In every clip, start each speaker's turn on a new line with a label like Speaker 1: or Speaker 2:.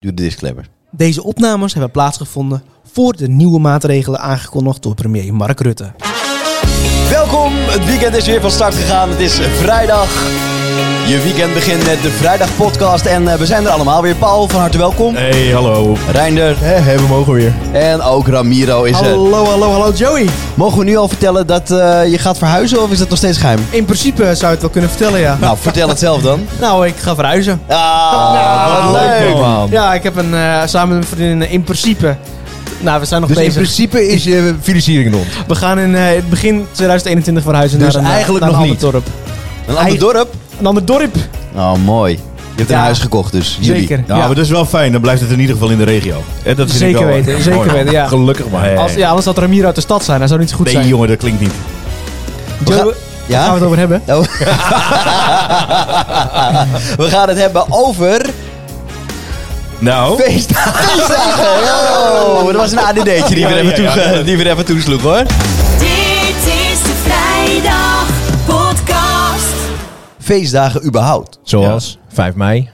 Speaker 1: Doe de disclaimer.
Speaker 2: Deze opnames hebben plaatsgevonden voor de nieuwe maatregelen aangekondigd door premier Mark Rutte.
Speaker 1: Welkom, het weekend is weer van start gegaan. Het is vrijdag. Je weekend begint met de Vrijdag Podcast. En eh, we zijn er allemaal weer. Paul, van harte welkom.
Speaker 3: Hey, hallo.
Speaker 1: Reinder
Speaker 3: we mogen weer.
Speaker 1: en ook Ramiro is er.
Speaker 2: Hallo, hallo, hallo Joey.
Speaker 1: Mogen we nu al vertellen dat eh, je gaat verhuizen of is dat nog steeds geheim?
Speaker 2: In principe zou je het wel kunnen vertellen, ja.
Speaker 1: Nou, vertel het zelf dan.
Speaker 2: Nou, ik ga verhuizen.
Speaker 1: Ah, wat
Speaker 3: leuk,
Speaker 1: leuk
Speaker 3: man.
Speaker 1: man.
Speaker 2: Ja, ik heb een, eh, samen met mijn vriendin eh, in principe... Nou, we zijn nog
Speaker 3: Dus in
Speaker 2: bezig.
Speaker 3: principe is je financiering rond.
Speaker 2: We gaan in eh, het begin 2021 verhuizen
Speaker 3: Dus
Speaker 2: naar een, eh,
Speaker 3: eigenlijk
Speaker 2: naar een
Speaker 3: nog
Speaker 2: ander dorp.
Speaker 1: Een ander dorp?
Speaker 2: Een ander dorp,
Speaker 1: Oh, mooi. Je hebt een
Speaker 2: Ja.
Speaker 1: huis gekocht dus, jullie.
Speaker 2: zeker. Ja.
Speaker 3: Ja, Ah, maar dat is wel fijn. Dan blijft het in ieder geval in de regio. Hè, dat vind ik
Speaker 2: Zeker
Speaker 3: wel- eh,
Speaker 2: weten,
Speaker 3: Mooi,
Speaker 2: zeker
Speaker 3: man.
Speaker 2: weten, ja.
Speaker 3: Gelukkig maar.
Speaker 2: Als, ja, anders had Ramiro uit de stad zijn, dat zou niet zo goed
Speaker 3: nee,
Speaker 2: zijn.
Speaker 3: jongen, dat klinkt niet.
Speaker 1: We gaan-
Speaker 2: Joey,
Speaker 1: Ja?
Speaker 2: daar gaan we het over hebben.
Speaker 1: Oh. we gaan het hebben over
Speaker 3: Nou,
Speaker 1: feestdagen. Oh, dat was een ADD'tje die,
Speaker 3: Ja,
Speaker 1: weer even
Speaker 3: ja,
Speaker 1: toe-
Speaker 3: ja.
Speaker 1: die weer even toesloeg hoor.
Speaker 4: Dit is de Vrijdag Podcast.
Speaker 1: Feestdagen überhaupt.
Speaker 5: Zoals 5 mei,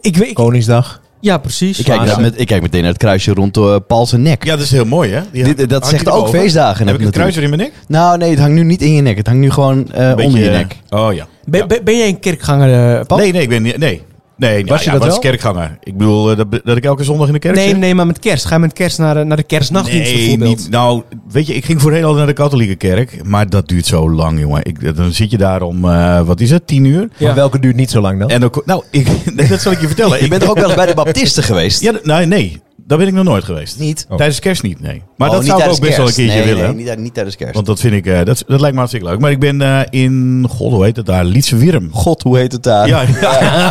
Speaker 2: Ik weet...
Speaker 5: Koningsdag.
Speaker 2: Ja, precies.
Speaker 1: Ik kijk,
Speaker 5: Zwaar,
Speaker 1: net
Speaker 5: ja.
Speaker 1: met, ik kijk meteen naar het kruisje rond eh Paul's nek.
Speaker 3: ja, dat is heel mooi, hè? Die-
Speaker 1: Dit- dat
Speaker 3: hangt
Speaker 1: zegt
Speaker 3: die
Speaker 1: ook
Speaker 3: erboven?
Speaker 1: feestdagen,
Speaker 3: Heb
Speaker 1: heb
Speaker 3: ik een
Speaker 1: ik
Speaker 3: kruisje in mijn nek?
Speaker 1: Nou nee, het hangt nu niet in je nek. Het hangt nu gewoon eh, onder je
Speaker 3: Beetje,
Speaker 1: nek.
Speaker 3: eh, Oh ja.
Speaker 2: Ben, ben, ben jij een kerkganger, eh, Paul?
Speaker 3: Nee, nee, ik ben niet... Nee. Nee,
Speaker 5: Was je
Speaker 3: ja,
Speaker 5: dat
Speaker 3: wat is
Speaker 5: wel?
Speaker 3: kerkganger? Ik bedoel, eh, dat, be- dat ik elke zondag in de kerk
Speaker 2: Nee,
Speaker 3: zit?
Speaker 2: nee, maar met kerst. Ga je met kerst naar, de- naar de kerstnachtdienst
Speaker 3: Nee,
Speaker 2: bijvoorbeeld?
Speaker 3: niet. Nou, weet je, ik ging voorheen al naar de katholieke kerk. Maar dat duurt zo lang, jongen. Ik, dan zit je daar om, eh, wat is het, tien uur?
Speaker 2: Ja.
Speaker 5: Maar welke duurt niet zo lang dan?
Speaker 3: En dan, ko- nou, ik, nee, dat zal ik je vertellen.
Speaker 1: Je
Speaker 3: Ik
Speaker 1: bent toch ook wel eens bij de baptisten geweest?
Speaker 3: eh, Ja, d- nee, nee, daar ben ik nog nooit geweest.
Speaker 1: Niet? Oh,
Speaker 3: Oh. Tijdens kerst niet, nee. Maar dat
Speaker 1: niet
Speaker 3: zou ik
Speaker 1: tijdens
Speaker 3: ook best wel een
Speaker 1: kerst.
Speaker 3: keertje
Speaker 1: Nee,
Speaker 3: willen.
Speaker 1: Nee, niet, tijd- niet tijdens kerst.
Speaker 3: Want dat vind ik, eh, dat, dat lijkt me hartstikke leuk. Maar ik ben eh, in, god, hoe heet het daar? Lietse Wirm.
Speaker 1: God, hoe heet het daar?
Speaker 3: Ja, ja.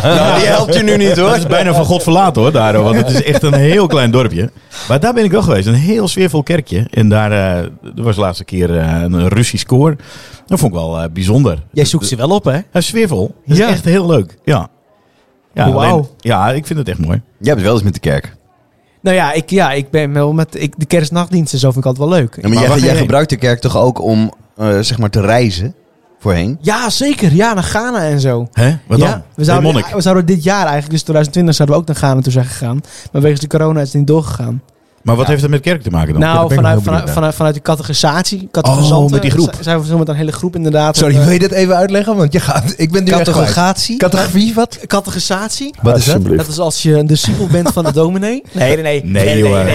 Speaker 1: Nou, die helpt je nu niet hoor.
Speaker 3: dat is bijna van God verlaten hoor, daar. hoor, Want het is echt een heel klein dorpje. Maar daar ben ik wel geweest. Een heel sfeervol kerkje. En daar eh, dat was de laatste keer eh, een Russisch koor. Dat vond ik wel eh, bijzonder.
Speaker 2: Jij zoekt ze wel op, hè?
Speaker 3: Ja, sfeervol. Dat is
Speaker 2: Ja.
Speaker 3: echt heel leuk. Ja. Ja,
Speaker 2: Wauw.
Speaker 3: alleen- ja, ik vind het echt mooi.
Speaker 1: Jij bent wel eens met de kerk.
Speaker 2: Nou ja, ik, ja, ik ben wel met ik, de kerstnachtdienst en zo vind ik altijd wel leuk.
Speaker 1: Ja, maar,
Speaker 3: waar
Speaker 1: jij,
Speaker 3: ga je
Speaker 1: jij
Speaker 3: heen?
Speaker 1: gebruikt de kerk toch ook om eh, zeg maar te reizen voorheen?
Speaker 2: Ja, zeker. Ja, naar Ghana en zo.
Speaker 3: Hè? Wat
Speaker 2: ja,
Speaker 3: dan?
Speaker 2: We zouden,
Speaker 3: Hey, monnik.
Speaker 2: we zouden dit jaar eigenlijk, dus 2020, zouden we ook naar Ghana toe zijn gegaan. Maar wegens de corona is het niet doorgegaan.
Speaker 3: Maar wat heeft het met kerk te maken dan?
Speaker 2: nou,
Speaker 5: ben ik nog
Speaker 2: vanuit,
Speaker 5: heel
Speaker 2: vanuit,
Speaker 5: benieuwd
Speaker 2: vanuit, vanuit de categorisatie, categorisanten,
Speaker 3: met die groep.
Speaker 2: z- zijn we zo met een hele groep inderdaad.
Speaker 5: Sorry,
Speaker 2: En, eh,
Speaker 5: wil je dit even uitleggen? Want je gaat, ik ben nu echt kwijt.
Speaker 1: Categoratie?
Speaker 5: Categorie wat?
Speaker 2: categorisatie,
Speaker 5: Wat is dat?
Speaker 2: dat is als je een discipel bent van de dominee. Nee, nee, nee.
Speaker 3: Nee, joh.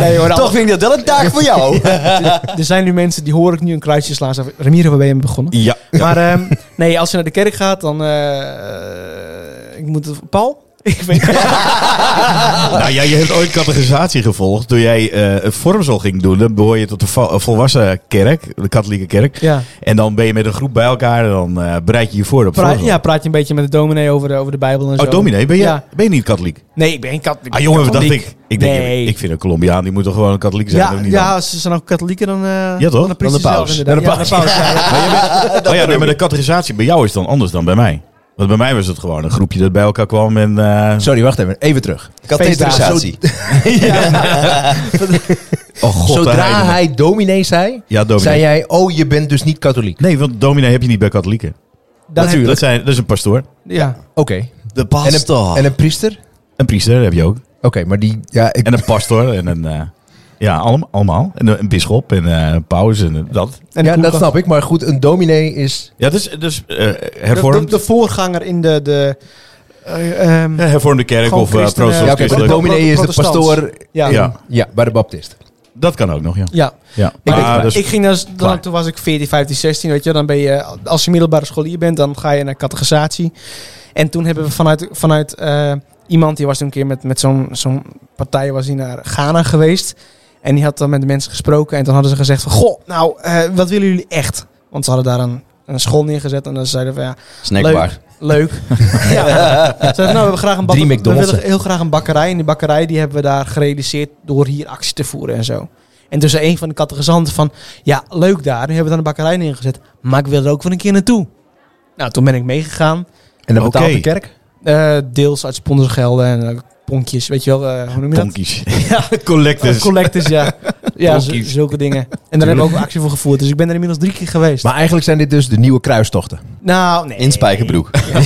Speaker 2: Nee, hoor,
Speaker 1: Toch vind ik dat wel een taak voor jou.
Speaker 2: Er zijn nu mensen die hoor ik nu een kruisje slaan. Ze zeggen, Ramiro, waar ben je mee begonnen?
Speaker 3: Ja.
Speaker 2: Maar ehm, nee, als je naar de kerk gaat, dan... eh, ik moet het... Paul? Ik weet
Speaker 3: Nou ja, je hebt ooit categorisatie gevolgd. Toen jij eh, een vormsel ging doen, dan behoor je tot de vo- volwassen kerk, de katholieke kerk.
Speaker 2: Ja.
Speaker 3: En dan ben je met een groep bij elkaar en dan eh, bereid je je voor op
Speaker 2: Pra-
Speaker 3: vormsel.
Speaker 2: ja, praat je een beetje met de dominee over de, over de Bijbel en zo.
Speaker 3: Oh, dominee, ben je,
Speaker 2: Ja.
Speaker 3: ben je niet katholiek?
Speaker 2: Nee, ik ben geen katholiek.
Speaker 3: Ah, jongen,
Speaker 2: Ik
Speaker 3: dat
Speaker 2: ben
Speaker 3: dacht
Speaker 2: katholiek.
Speaker 3: ik. Ik denk,
Speaker 2: Nee.
Speaker 3: ik vind een Colombiaan, die moet toch gewoon een katholiek zijn?
Speaker 2: ja,
Speaker 3: of niet dan? Oh
Speaker 2: ja, ze zijn ook katholieken dan... eh
Speaker 3: Ja, toch?
Speaker 2: Dan de, priester
Speaker 1: Dan de paus.
Speaker 2: zelf, inderdaad.
Speaker 3: Dan de
Speaker 2: Ja, dan de paus, ja, ja.
Speaker 3: Oh ja, nee, maar de categorisatie bij jou is dan anders dan bij mij. Want bij mij was het gewoon een groepje dat bij elkaar kwam en... eh,
Speaker 5: Sorry, wacht even. Even terug.
Speaker 1: Categoratie.
Speaker 3: oh god, daar
Speaker 5: Zodra
Speaker 3: rijden we.
Speaker 5: hij dominee zei,
Speaker 3: Ja, dominee.
Speaker 5: zei
Speaker 2: eh,
Speaker 5: jij, oh je bent dus niet katholiek.
Speaker 3: Nee, want dominee heb je niet bij katholieken.
Speaker 2: Dan heb-
Speaker 3: Dat, zijn, dat is een pastoor.
Speaker 2: Ja.
Speaker 5: Oké.
Speaker 1: De
Speaker 5: En, een,
Speaker 1: pastor.
Speaker 5: en een priester? Oké,
Speaker 3: Een priester heb je ook.
Speaker 5: maar die, ja, ik,
Speaker 3: En een pastoor en een... eh, ja, allemaal. allemaal. En een, een bisschop en eh, een paus en eh, dat.
Speaker 2: En de
Speaker 5: ja dat
Speaker 2: koelkast.
Speaker 5: snap ik. Maar goed, een dominee is...
Speaker 3: Ja, dus, dus eh,
Speaker 2: De, de,
Speaker 3: hervormd,
Speaker 2: de voorganger in de... de eh, ehm,
Speaker 3: Ja, hervormde kerk
Speaker 2: Gewoon
Speaker 3: of eh
Speaker 2: christenen.
Speaker 5: Ja, oké,
Speaker 3: protestant.
Speaker 5: maar
Speaker 3: christelijk.
Speaker 5: de
Speaker 2: pro-
Speaker 5: dominee is de
Speaker 2: protestants.
Speaker 5: pastoor...
Speaker 2: ja.
Speaker 3: ja,
Speaker 5: Ja, bij de baptist.
Speaker 3: dat kan ook nog, ja.
Speaker 2: ja.
Speaker 3: ja.
Speaker 2: Ik,
Speaker 3: Ah,
Speaker 2: ik,
Speaker 3: dus-
Speaker 2: ik ging dus, dan,
Speaker 3: klaar.
Speaker 2: toen was ik 14, 15, 16, weet je. Dan ben je, als je middelbare scholier bent, dan ga je naar categorisatie. En toen hebben we vanuit, vanuit eh, iemand, die was toen een keer met, met zo'n zo'n partij, was hij naar Ghana geweest. En die had dan met de mensen gesproken en toen hadden ze gezegd van, goh, nou, eh, wat willen jullie echt? Want ze hadden daar een, een school neergezet en dan zeiden we, ja,
Speaker 1: Snackbar.
Speaker 2: leuk. ja. Ze zeiden, nou, we hebben graag een bak-
Speaker 5: Drie
Speaker 2: we
Speaker 5: McDonald's.
Speaker 2: willen heel graag een bakkerij. En die bakkerij die hebben we daar gerealiseerd door hier actie te voeren en zo. En toen zei een van de categorisanten van... Ja, leuk daar. Nu hebben we dan een bakkerij neergezet. Maar ik wil er ook wel een keer naartoe. Nou, toen ben ik meegegaan.
Speaker 5: En dan
Speaker 3: Oké.
Speaker 5: betaalt de kerk?
Speaker 2: Eh, deels uit sponsorgelden en eh, ponkjes, weet je wel, eh, hoe noem je dat?
Speaker 3: Tonkies.
Speaker 2: Ja,
Speaker 3: Collectors.
Speaker 2: collectors, ja. ja, z-
Speaker 3: Donkies.
Speaker 2: zulke dingen. En daar hebben we ook actie voor gevoerd. Dus ik ben er inmiddels drie keer geweest.
Speaker 5: Maar eigenlijk zijn dit dus de nieuwe kruistochten.
Speaker 2: nou, nee.
Speaker 1: In Spijkerbroek.
Speaker 2: Nou,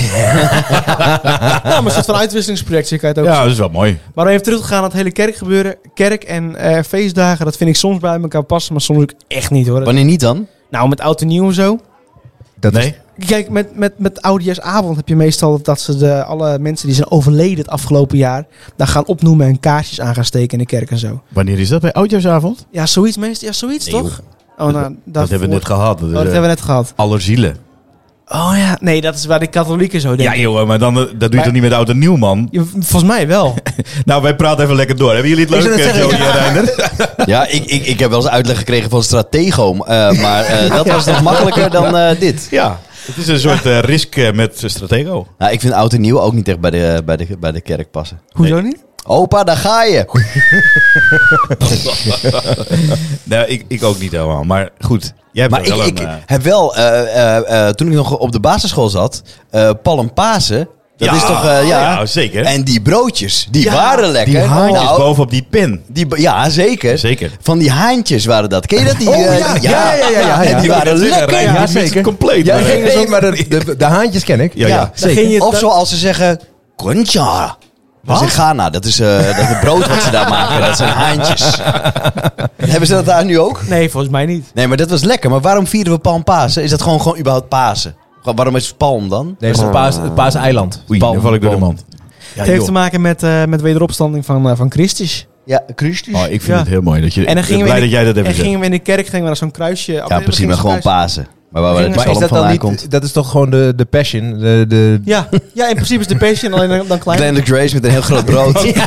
Speaker 2: maar een soort van uitwisselingsproject zie ik het ook.
Speaker 3: Ja, dat is wel mooi.
Speaker 2: Maar om even terug te gaan naar het hele kerkgebeuren. Kerk en eh, feestdagen, dat vind ik soms bij elkaar passen, maar soms ook echt niet hoor.
Speaker 1: Wanneer niet dan?
Speaker 2: Nou, met oud en nieuw en zo.
Speaker 5: Dat
Speaker 3: nee?
Speaker 5: is,
Speaker 2: Kijk, met, met, met Oudejaarsavond heb je meestal dat ze de, alle mensen die zijn overleden het afgelopen jaar... daar gaan opnoemen en kaarsjes aan gaan steken in de kerk en zo.
Speaker 3: Wanneer is dat? Bij Oudjaarsavond?
Speaker 2: Ja, zoiets meestal. Ja, zoiets
Speaker 3: Nee,
Speaker 2: toch? Oh, nou, daarvoor-
Speaker 3: Dat hebben we net gehad. Dat, eh,
Speaker 2: Oh, dat hebben we net gehad.
Speaker 3: Allerzielen.
Speaker 2: Oh ja, nee, dat is waar de katholieken zo denken.
Speaker 3: Ja, joh, maar dan, eh, dat doe je
Speaker 2: Maar-
Speaker 3: toch niet met oud en nieuw, man?
Speaker 2: Ja, volgens mij wel.
Speaker 3: Nou, wij praten even lekker door. Hebben jullie het
Speaker 5: Ik zou
Speaker 3: leuk, eh,
Speaker 5: net zeggen,
Speaker 3: Jody en Reinder?
Speaker 1: Ja, ik, ik, ik heb wel eens uitleg gekregen van Stratego, eh, maar eh, dat was nog makkelijker dan eh, dit.
Speaker 3: Ja, het is een soort eh, risk eh, met eh, Stratego.
Speaker 1: Nou, ik vind oud en nieuw ook niet echt bij de, bij de, bij de kerk passen.
Speaker 2: Hoezo niet?
Speaker 1: Opa, daar ga je.
Speaker 3: Nou, ik, ik ook niet helemaal. Maar goed, jij hebt
Speaker 1: Maar
Speaker 3: er
Speaker 1: ik,
Speaker 3: wel
Speaker 1: ik
Speaker 3: een... eh,
Speaker 1: heb wel, eh, eh, eh, toen ik nog op de basisschool zat, eh Palm Pasen. Dat
Speaker 3: Ja,
Speaker 1: is toch, eh, ja.
Speaker 3: ja, zeker.
Speaker 1: En die broodjes, die waren lekker.
Speaker 5: die haantjes
Speaker 1: Nou,
Speaker 3: bovenop die pin.
Speaker 1: die bo- ja, zeker.
Speaker 3: Zeker.
Speaker 1: Van die haantjes waren dat. Ken je dat? Die,
Speaker 5: Oh,
Speaker 1: eh,
Speaker 5: ja, ja, ja, ja, ja, ja.
Speaker 1: En die waren lekker.
Speaker 5: Rijn.
Speaker 3: Ja,
Speaker 5: Ja,
Speaker 3: zeker.
Speaker 5: zeker. dus-
Speaker 3: Compleet.
Speaker 5: ja,
Speaker 3: maar,
Speaker 5: nee,
Speaker 3: eh,
Speaker 5: nee, maar de, de, de haantjes ken ik.
Speaker 3: Ja, ja.
Speaker 1: Ja,
Speaker 2: Dan ging je-
Speaker 1: Of
Speaker 2: dat-
Speaker 1: zoals ze zeggen, concha. Dat is in Ghana. Dat is eh, dat het brood wat ze daar maken. Dat zijn haantjes. Hebben ze dat daar nu ook?
Speaker 2: Nee, volgens mij niet.
Speaker 1: Nee, maar dat was lekker. Maar waarom vieren we Palm Pasen? Is dat gewoon, gewoon überhaupt Pasen? Gewoon, Waarom is het Palm dan?
Speaker 5: Nee, het is het paas, het paaseiland.
Speaker 3: Oei, dan val ik door de mand.
Speaker 5: Ja,
Speaker 2: het heeft
Speaker 5: joh.
Speaker 2: te maken met, eh, met wederopstanding van, eh, van Christus.
Speaker 1: Ja, Christus.
Speaker 3: Oh, ik vind
Speaker 2: Ja.
Speaker 3: het heel mooi dat je...
Speaker 2: En dan gingen we
Speaker 3: blij
Speaker 2: in
Speaker 3: dat
Speaker 2: de,
Speaker 3: jij dat even
Speaker 2: en
Speaker 3: zegt.
Speaker 2: gingen we in de kerk gingen we naar zo'n kruisje.
Speaker 1: ja, precies. Maar gewoon
Speaker 2: paas.
Speaker 1: Pasen. Maar waar, waar het
Speaker 2: Maar
Speaker 5: Maar is
Speaker 1: Palm
Speaker 5: dat dan
Speaker 1: vandaan
Speaker 5: niet...
Speaker 1: komt.
Speaker 5: Dat is toch gewoon de, de passion? De, de,
Speaker 2: Ja, ja, in principe is de passion alleen dan, dan klein.
Speaker 1: Glenn Grace met een heel groot brood.
Speaker 3: Ja,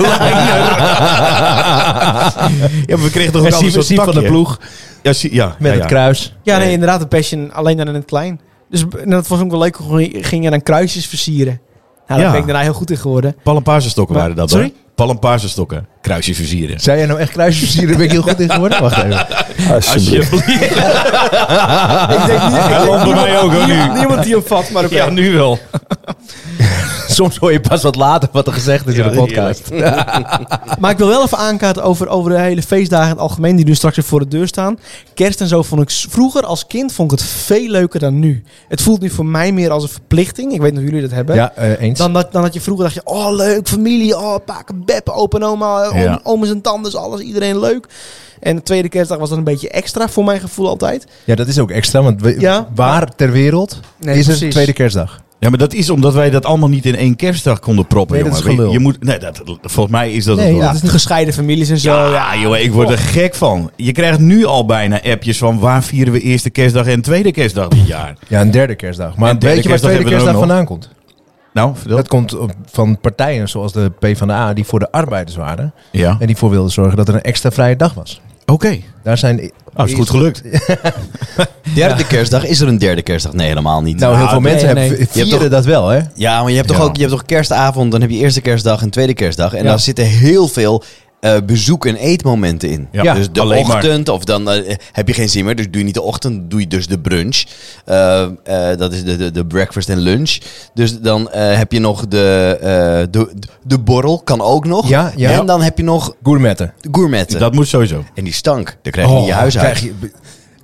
Speaker 3: maar we kregen toch ook altijd
Speaker 5: het symboliek
Speaker 3: zo'n
Speaker 5: van de
Speaker 3: takje.
Speaker 5: ploeg
Speaker 3: Ja, zie- ja,
Speaker 5: met
Speaker 3: ja,
Speaker 5: het
Speaker 3: ja.
Speaker 5: kruis.
Speaker 2: Ja, nee, inderdaad, de passion alleen dan in het klein. Dus b- en dat was ook wel leuk. hoe je- Ging je dan kruisjes versieren. Nou, daar
Speaker 3: Ja.
Speaker 2: ben ik daarna heel goed in geworden.
Speaker 3: Palmpaarsenstokken
Speaker 2: Maar-
Speaker 3: waren dat,
Speaker 2: Sorry?
Speaker 3: hoor. Palmpaarsenstokken. Kruisjes versieren.
Speaker 5: Zijn jij nou echt kruisversieren? Daar ben ik heel goed in geworden. Wacht even.
Speaker 3: Alsjeblieft.
Speaker 2: ik denk niet,
Speaker 3: Ja, bij mij ook, hoor, nu.
Speaker 2: niemand die hem vat, maar ook
Speaker 3: Ja, nu wel.
Speaker 5: Soms hoor je pas wat later wat er gezegd is
Speaker 3: Ja,
Speaker 5: in de podcast.
Speaker 2: Maar ik wil wel even aankaarten over, over de hele feestdagen in het algemeen, die nu straks weer voor de deur staan. Kerst en zo vond ik s- vroeger als kind vond ik het veel leuker dan nu. Het voelt nu voor mij meer als een verplichting. Ik weet niet of jullie dat hebben.
Speaker 5: Ja, eh, eens.
Speaker 2: Dan dat, dan dat je vroeger dacht je, oh leuk, familie, oh pakken, bep, open oma, eh, om,
Speaker 3: Ja.
Speaker 2: ooms en tantes, alles, iedereen leuk. En de tweede kerstdag was dat een beetje extra voor mijn gevoel altijd.
Speaker 5: Ja, dat is ook extra, want we-
Speaker 2: Ja.
Speaker 5: waar ter wereld
Speaker 2: Nee,
Speaker 5: is er
Speaker 2: precies.
Speaker 5: tweede kerstdag?
Speaker 3: Ja, maar dat is omdat wij dat allemaal niet in één kerstdag konden proppen,
Speaker 5: Nee, dat
Speaker 3: jongen.
Speaker 5: is gelul.
Speaker 3: Je, je moet, nee, dat, volgens mij is dat
Speaker 5: Nee,
Speaker 3: het
Speaker 5: ja,
Speaker 3: wel.
Speaker 5: dat is niet-
Speaker 2: Gescheiden families en zo.
Speaker 3: Oh, Ja, joh, ik
Speaker 2: Oh.
Speaker 3: word er gek van. Je krijgt nu al bijna appjes van waar vieren we eerste kerstdag en tweede kerstdag dit jaar.
Speaker 5: Ja, een derde kerstdag. Maar
Speaker 3: En derde
Speaker 5: weet je waar
Speaker 3: kerstdag
Speaker 5: tweede
Speaker 3: hebben we er
Speaker 5: kerstdag
Speaker 3: ook nog.
Speaker 5: vandaan komt?
Speaker 3: Nou, vertel.
Speaker 5: Dat komt op- van partijen zoals de PvdA, die voor de arbeiders waren.
Speaker 3: ja,
Speaker 5: En die voor wilden zorgen dat er een extra vrije dag was.
Speaker 3: oké.
Speaker 5: Daar zijn
Speaker 3: Nou, is goed gelukt.
Speaker 1: derde kerstdag. Is er een derde kerstdag? Nee, helemaal niet.
Speaker 5: Nou, heel
Speaker 3: Nou,
Speaker 5: veel
Speaker 2: nee,
Speaker 5: mensen
Speaker 2: nee.
Speaker 5: hebben
Speaker 1: Je hebt
Speaker 5: vieren
Speaker 1: toch-
Speaker 5: dat wel, hè?
Speaker 1: Ja, maar je hebt toch
Speaker 3: Ja.
Speaker 1: ook je hebt toch kerstavond, dan heb je eerste kerstdag en tweede kerstdag. En
Speaker 5: Ja.
Speaker 1: daar zitten heel veel eh, bezoek- en eetmomenten in.
Speaker 3: Ja,
Speaker 1: Dus de
Speaker 3: alleen maar.
Speaker 1: ochtend, of dan eh, heb je geen zin meer, dus doe je niet de ochtend, doe je dus de brunch. Eh, eh, dat is de, de, de breakfast en lunch. Dus dan eh, heb je nog de, eh, de, de borrel, kan ook nog.
Speaker 5: Ja, ja.
Speaker 1: En dan heb je nog
Speaker 5: Gourmetten.
Speaker 1: gourmetten.
Speaker 3: Dat moet sowieso.
Speaker 1: En die stank, daar krijg je
Speaker 3: Oh,
Speaker 1: in je huis uit.
Speaker 5: Oh, krijg je-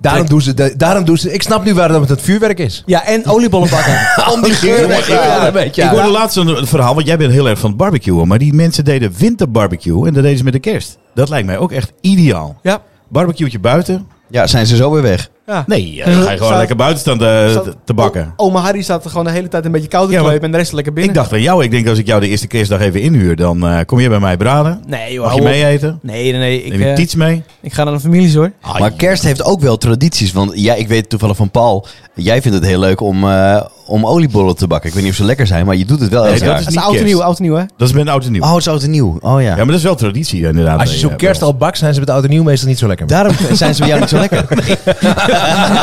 Speaker 5: daarom, doen ze, de- daarom doen ze... Ik snap nu waarom het het vuurwerk is.
Speaker 2: Ja, en oliebollen bakken.
Speaker 1: Om die geur weg te halen.
Speaker 5: een beetje.
Speaker 3: Ik hoorde laatst een een verhaal, want jij bent heel erg van het barbecuen. Maar die mensen deden winterbarbecue en dat deden ze met de kerst. Dat lijkt mij ook echt ideaal.
Speaker 2: ja.
Speaker 3: Barbecueetje buiten?
Speaker 1: Ja, zijn ze zo weer weg.
Speaker 2: ja.
Speaker 3: Nee, eh, dan ga je gewoon
Speaker 2: Zou-
Speaker 3: lekker buiten staan te,
Speaker 2: Zat-
Speaker 3: te bakken.
Speaker 2: O- Oma Harry staat er gewoon de hele tijd een beetje koud te
Speaker 3: Ja, maar-
Speaker 2: klepen en de rest lekker binnen.
Speaker 3: Ik dacht aan jou. Ik denk als ik jou de eerste kerstdag even inhuur, dan eh, kom jij bij mij braden.
Speaker 2: nee, joh,
Speaker 3: Mag je
Speaker 2: hou op.
Speaker 3: mee eten?
Speaker 2: Nee, nee, nee. Ik,
Speaker 3: Neem je
Speaker 2: eh,
Speaker 3: tiets mee?
Speaker 2: ik ga naar de families hoor.
Speaker 1: Maar kerst heeft ook wel tradities. Want ja, ik weet toevallig van Paul. Jij vindt het heel leuk om, eh, om oliebollen te bakken. Ik weet niet of ze lekker zijn, maar je doet het wel
Speaker 3: Nee,
Speaker 1: elk
Speaker 3: dat
Speaker 1: jaar.
Speaker 3: is
Speaker 2: Dat is
Speaker 3: niet
Speaker 2: oud en
Speaker 3: kerst.
Speaker 2: nieuw, oud en nieuw hè.
Speaker 3: Dat is met oud en nieuw.
Speaker 1: Oh, het is oud en nieuw. Oh ja.
Speaker 3: Ja, maar dat is wel traditie inderdaad.
Speaker 5: Als je
Speaker 3: eh,
Speaker 5: zo'n kerst
Speaker 3: bij ons.
Speaker 5: al bakt, zijn ze met oud en nieuw meestal niet zo lekker.
Speaker 1: Daarom zijn ze bij jou niet zo lekker.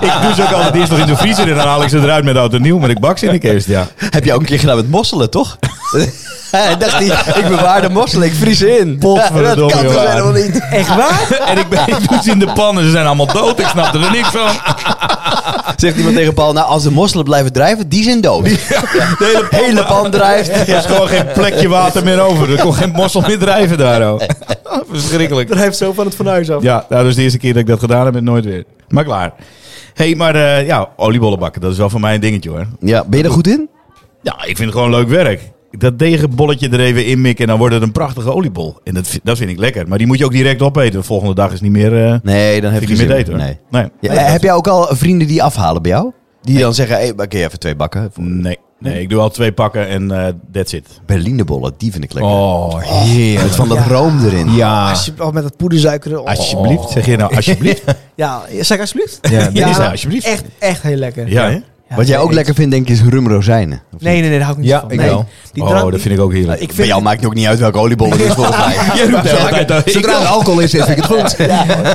Speaker 3: Ik doe ze ook altijd eerst nog in de vriezer en dan haal ik ze eruit met oud en nieuw. Maar ik bak ze in de kerst, ja.
Speaker 1: Heb je ook een keer gedaan met mosselen, toch? Hij dacht hij, ik bewaar de mossel, ik vries in.
Speaker 3: Potverdomme,
Speaker 1: dat kan
Speaker 3: joh.
Speaker 1: toch helemaal niet.
Speaker 2: Echt waar?
Speaker 3: En ik, ben, ik doe ze in de pan en ze zijn allemaal dood. Ik snap er niks van.
Speaker 1: Zegt iemand tegen Paul, nou als de mosselen blijven drijven, die zijn dood. De hele pan, drijft.
Speaker 3: Er is gewoon geen plekje water meer over. Er kon geen mossel meer drijven daar. oh. Verschrikkelijk.
Speaker 2: Dat heeft zo van het fornuis af.
Speaker 3: Ja, nou, dat is de eerste keer dat ik dat gedaan heb en nooit weer. Maar klaar. hey, maar eh, ja, oliebollen bakken, dat is wel voor mij een dingetje hoor.
Speaker 1: Ja, ben je er goed in?
Speaker 3: Ja, ik vind het gewoon leuk werk. Dat degenbolletje er even in mikken en dan wordt het een prachtige oliebol. En dat, vi- dat vind ik lekker. Maar die moet je ook direct opeten. De volgende dag is niet meer, eh,
Speaker 1: Nee, dan heb je
Speaker 3: vind ik niet
Speaker 1: zin.
Speaker 3: meer eten. hoor.
Speaker 1: Nee.
Speaker 3: nee.
Speaker 1: Ja, eh, heb jij ook al vrienden die afhalen bij jou? Die dan zeggen, hey, maar kun je even twee bakken?
Speaker 3: Nee. Nee, ik doe al twee pakken en eh that's it.
Speaker 1: Berlinebollen, die vind ik lekker.
Speaker 3: Oh,
Speaker 1: Met van dat room erin.
Speaker 3: ja.
Speaker 2: Als je, oh, met dat poedersuiker. Oh.
Speaker 3: Alsjeblieft. Zeg je nou alsjeblieft?
Speaker 2: Ja, zeg ik alsjeblieft.
Speaker 3: Ja, dat is nou alsjeblieft.
Speaker 2: Echt, echt heel lekker.
Speaker 3: Ja, hè?
Speaker 2: Ja,
Speaker 1: Wat jij ook
Speaker 2: nee,
Speaker 1: lekker vindt, denk ik, is rumrozijnen.
Speaker 2: Nee, nee, nee, daar hou ik niet
Speaker 3: Ja,
Speaker 2: van.
Speaker 3: ik
Speaker 2: nee.
Speaker 3: wel.
Speaker 2: Die drank-
Speaker 3: Oh, dat
Speaker 2: die-
Speaker 3: vind ik ook heerlijk.
Speaker 2: Ik
Speaker 1: Bij
Speaker 2: vind
Speaker 1: jou maakt het ook niet uit welke oliebol het is, volgens mij.
Speaker 3: Jij roept de hele tijd dat.
Speaker 5: Zodra er alcohol in zit, vind ik het goed.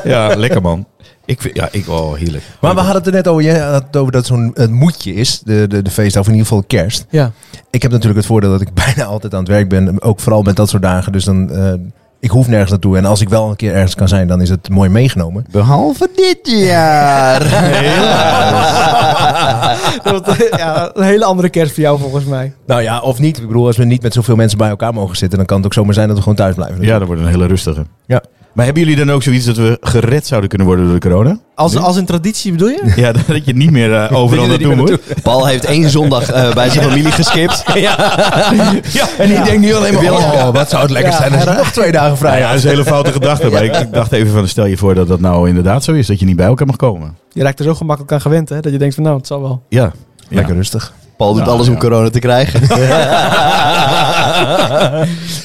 Speaker 3: Ja, lekker man. Ik vind, ja, ik, oh, heerlijk.
Speaker 5: Maar we hadden het er net over, jij had het over dat zo'n het moedje is, de, de, de feestdag, of in ieder geval kerst.
Speaker 2: Ja.
Speaker 5: Ik heb natuurlijk het voordeel dat ik bijna altijd aan het werk ben, ook vooral met dat soort dagen. Dus dan, eh, ik hoef nergens naartoe. En als ik wel een keer ergens kan zijn, dan is het mooi meegenomen.
Speaker 1: Behalve dit jaar.
Speaker 2: Dat wordt, ja, een hele andere kerst voor jou volgens mij.
Speaker 5: Nou ja, of niet. Ik bedoel, als we niet met zoveel mensen bij elkaar mogen zitten, dan kan het ook zomaar zijn dat we gewoon thuis blijven.
Speaker 3: Ja, dat wordt een hele rustige.
Speaker 5: Ja.
Speaker 3: Maar hebben jullie dan ook zoiets dat we gered zouden kunnen worden door de corona?
Speaker 2: Als, als een traditie bedoel je?
Speaker 3: Ja, dat je niet meer eh, overal
Speaker 5: Dat je
Speaker 3: naartoe
Speaker 5: er niet meer
Speaker 3: moet.
Speaker 1: Paul heeft één zondag eh, bij zijn familie geskipt.
Speaker 5: En ik denk nu alleen maar, oh, wat zou het lekker
Speaker 2: Ja,
Speaker 5: zijn als je nog twee dagen vrij
Speaker 3: Nou
Speaker 5: had.
Speaker 3: ja, dat is een hele foute gedachte. Maar ik, ik dacht even van, stel je voor dat dat nou inderdaad zo is. Dat je niet bij elkaar mag komen.
Speaker 2: Je raakt er zo gemakkelijk aan gewend hè, dat je denkt van nou, het zal wel.
Speaker 3: Ja.
Speaker 5: Lekker rustig.
Speaker 1: Paul doet
Speaker 3: Ja,
Speaker 1: alles om
Speaker 3: ja.
Speaker 1: corona te krijgen.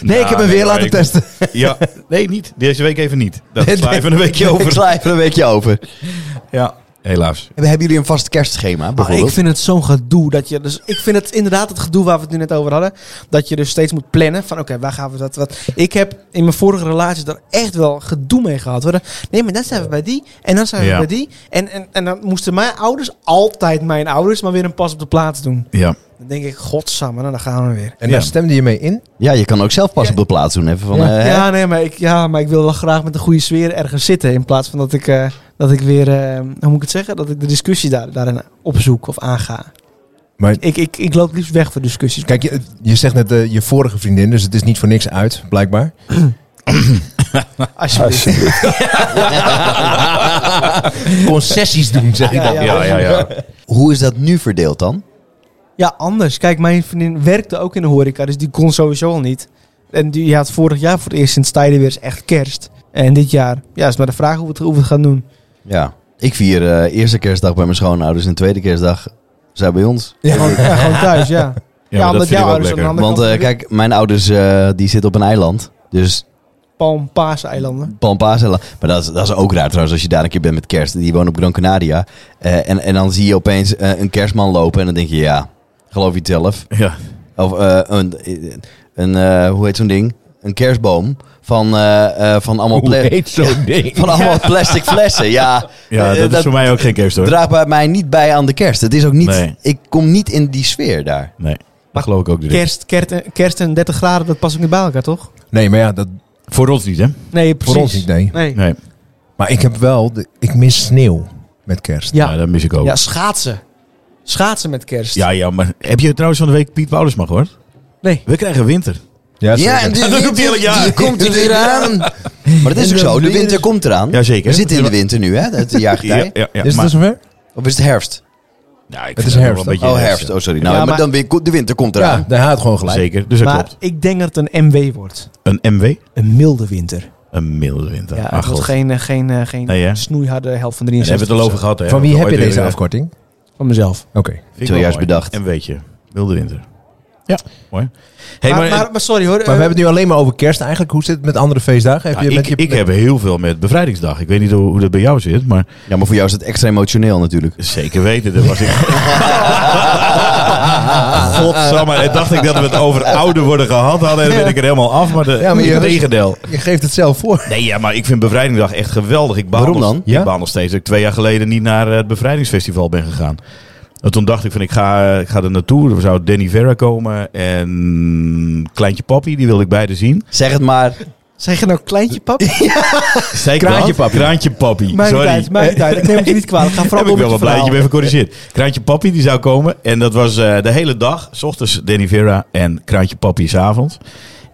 Speaker 5: Nee, ik heb hem weer laten testen.
Speaker 3: Ja, nee, niet. Deze week even niet. Dat
Speaker 1: Nee,
Speaker 3: sla even een weekje
Speaker 1: Ik
Speaker 3: over.
Speaker 1: sla even een weekje over.
Speaker 3: Ja, helaas.
Speaker 1: Hebben hebben jullie een vast kerstschema
Speaker 2: Ah, ik
Speaker 1: bijvoorbeeld?
Speaker 2: vind het zo'n gedoe dat je. Dus ik vind het inderdaad het gedoe waar we het nu net over hadden. Dat je dus steeds moet plannen van oké, waar gaan we dat. Wat. Ik heb in mijn vorige relaties daar echt wel gedoe mee gehad. Hoor. Nee, maar dan zijn we bij die. En dan zijn we
Speaker 3: Ja.
Speaker 2: bij die. En, en, en dan moesten mijn ouders, altijd mijn ouders, maar weer een pas op de plaats doen.
Speaker 3: Ja.
Speaker 2: Dan denk ik, godsamme, nou, dan gaan we weer.
Speaker 5: En daar
Speaker 3: Ja.
Speaker 5: stemde je mee in.
Speaker 1: Ja, je kan ook zelf pas op de plaats doen. Even van,
Speaker 5: Ja.
Speaker 1: eh, hè?
Speaker 2: Ja, nee, maar ik, ja, maar ik wil wel graag met een goede sfeer ergens zitten. In plaats van dat ik, eh, dat ik weer, eh, hoe moet ik het zeggen? Dat ik de discussie daar, daarin opzoek of aanga.
Speaker 5: Maar
Speaker 2: Ik, ik, ik loop liefst weg voor discussies.
Speaker 5: kijk, je, je zegt net eh, je vorige vriendin, dus het is niet voor niks uit, blijkbaar.
Speaker 2: Alsjeblieft.
Speaker 5: Concessies doen, zeg ik
Speaker 2: Ja,
Speaker 5: dan.
Speaker 2: ja.
Speaker 3: Ja, ja, ja.
Speaker 1: Hoe is dat nu verdeeld dan?
Speaker 2: Ja, anders. Kijk, mijn vriendin werkte ook in de horeca, dus die kon sowieso al niet. En die had vorig jaar voor het eerst sinds tijden weer eens echt kerst. En dit jaar, ja, is maar de vraag hoe we het, hoe we het gaan doen.
Speaker 1: Ja. Ik vier eh, eerste kerstdag bij mijn schoonouders en tweede kerstdag zij bij ons.
Speaker 2: Gewoon, ja, gewoon thuis, ja.
Speaker 3: Ja, maar
Speaker 2: omdat
Speaker 3: dat vind ik
Speaker 2: jouw
Speaker 3: ook
Speaker 2: ouders
Speaker 3: lekker.
Speaker 2: aan de andere
Speaker 1: Want eh,
Speaker 2: kant weer-
Speaker 1: kijk, mijn ouders eh, die zitten op een eiland. Dus
Speaker 2: Palm Paaseilanden.
Speaker 1: Pampasella. Maar dat is, dat is ook raar trouwens als je daar een keer bent met kerst. Die wonen op Gran Canaria. Eh, en, en dan zie je opeens eh, een kerstman lopen en dan denk je ja, geloof je het zelf.
Speaker 3: Ja.
Speaker 1: Of eh, een, een eh, hoe heet zo'n ding? Een kerstboom van, eh, eh, van allemaal
Speaker 5: Hoe
Speaker 1: plastic.
Speaker 5: heet zo'n ding?
Speaker 1: Van allemaal plastic flessen, ja.
Speaker 3: ja,
Speaker 1: Eh,
Speaker 3: dat is voor mij ook geen kerst hoor.
Speaker 1: draagt bij mij niet bij aan de kerst. Het is ook niet,
Speaker 3: Nee.
Speaker 1: ik kom niet in die sfeer daar.
Speaker 3: Nee, dat geloof ik ook direct.
Speaker 2: Kerst, kerst, en- kerst en 30 graden, dat past ook niet bij elkaar, toch?
Speaker 5: Nee, maar ja, dat,
Speaker 3: Voor ons niet, hè?
Speaker 2: Nee, precies.
Speaker 5: voor ons niet, nee.
Speaker 2: Nee.
Speaker 3: Nee,
Speaker 5: Maar ik heb wel, de, ik mis sneeuw met kerst.
Speaker 3: ja.
Speaker 2: Ja.
Speaker 3: dat mis ik ook.
Speaker 2: ja, schaatsen. Schaatsen met kerst.
Speaker 3: Ja, ja, maar heb je trouwens van de week Piet Paulusma gehoord?
Speaker 2: Nee.
Speaker 3: We krijgen winter.
Speaker 5: zeker.
Speaker 3: Dat komt die hele jaar.
Speaker 1: komt er weer aan. Maar het is ook zo, de winter komt eraan.
Speaker 3: Jazeker.
Speaker 1: We zitten in de winter nu, hè? Het jaargetij.
Speaker 3: ja, ja. maar-
Speaker 5: is Dus het al zover?
Speaker 1: Of is het herfst?
Speaker 3: Ja, ik
Speaker 5: Het
Speaker 3: vind
Speaker 5: is
Speaker 3: wel
Speaker 5: herfst,
Speaker 3: een beetje
Speaker 1: Oh, herfst. Oh, sorry. Nou,
Speaker 2: Ja,
Speaker 1: maar,
Speaker 2: maar-
Speaker 1: dan weer, ko- de winter komt
Speaker 5: Ja,
Speaker 1: eraan.
Speaker 5: daar haat gewoon
Speaker 3: ja.
Speaker 5: gelijk.
Speaker 3: Zeker, dus dat
Speaker 2: maar
Speaker 3: klopt.
Speaker 2: ik denk dat het een MW wordt.
Speaker 3: Een MW?
Speaker 2: Een milde winter.
Speaker 3: Een milde winter.
Speaker 2: Ja,
Speaker 3: Ah,
Speaker 2: het wordt
Speaker 3: god.
Speaker 2: geen, eh, geen, eh, geen
Speaker 3: Nee, hè?
Speaker 2: snoeiharde helft van
Speaker 3: Daar
Speaker 2: 63.
Speaker 3: hebben we het al over gehad, hè?
Speaker 5: Van wie
Speaker 3: Ooit
Speaker 5: heb je
Speaker 3: weer,
Speaker 5: deze
Speaker 3: eh,
Speaker 5: afkorting?
Speaker 2: Van mezelf.
Speaker 5: Oké.
Speaker 3: vind ik
Speaker 1: Zo
Speaker 3: wel
Speaker 1: juist
Speaker 3: mooi.
Speaker 1: bedacht.
Speaker 3: En weet je, wilde winter. Ja, mooi. Hey,
Speaker 2: maar, maar, maar sorry hoor. eh,
Speaker 5: Maar we hebben het nu alleen maar over kerst eigenlijk. Hoe zit het met andere feestdagen? Heb
Speaker 3: Ja,
Speaker 5: je met
Speaker 3: ik,
Speaker 5: je,
Speaker 3: ik heb heel veel met bevrijdingsdag. Ik weet niet hoe, hoe dat bij jou zit, maar
Speaker 1: Ja, maar voor jou is het extra emotioneel natuurlijk.
Speaker 3: zeker weten, dat was ik. Godsamme, en dacht ik dat we het over ouder worden gehad hadden en dan ben ik er helemaal af, maar, de,
Speaker 5: Ja, maar je-
Speaker 3: het tegendeel.
Speaker 5: Je geeft het zelf voor.
Speaker 3: Nee, ja, maar ik vind Bevrijdingsdag echt geweldig. Ik baal
Speaker 1: Waarom
Speaker 3: nog-
Speaker 1: dan?
Speaker 3: Ik
Speaker 5: Ja?
Speaker 3: baal nog steeds dat ik twee jaar geleden niet naar eh, het Bevrijdingsfestival ben gegaan. En toen dacht ik van, ik ga, eh, ik ga er naartoe. Er zou Danny Vera komen en Kleintje Papi, die wilde ik beide zien.
Speaker 1: Zeg het maar.
Speaker 2: Zeg je nou kleintje pap?
Speaker 3: Zeker
Speaker 5: Kraantje
Speaker 3: dat?
Speaker 5: Papi.
Speaker 3: Kraantje Papi,
Speaker 2: Maakt niet
Speaker 3: sorry.
Speaker 2: uit, maakt niet uit. Ik neem het je niet kwalijk. Ga vooral
Speaker 3: Heb ik
Speaker 2: door
Speaker 3: wel
Speaker 2: met je
Speaker 3: wat blij dat je
Speaker 2: verhaal.
Speaker 3: bent gecorrigeerd. Kraantje Papi die zou komen. En dat was eh, de hele dag. S ochtends Danny Vera en Kraantje Papi s'avonds.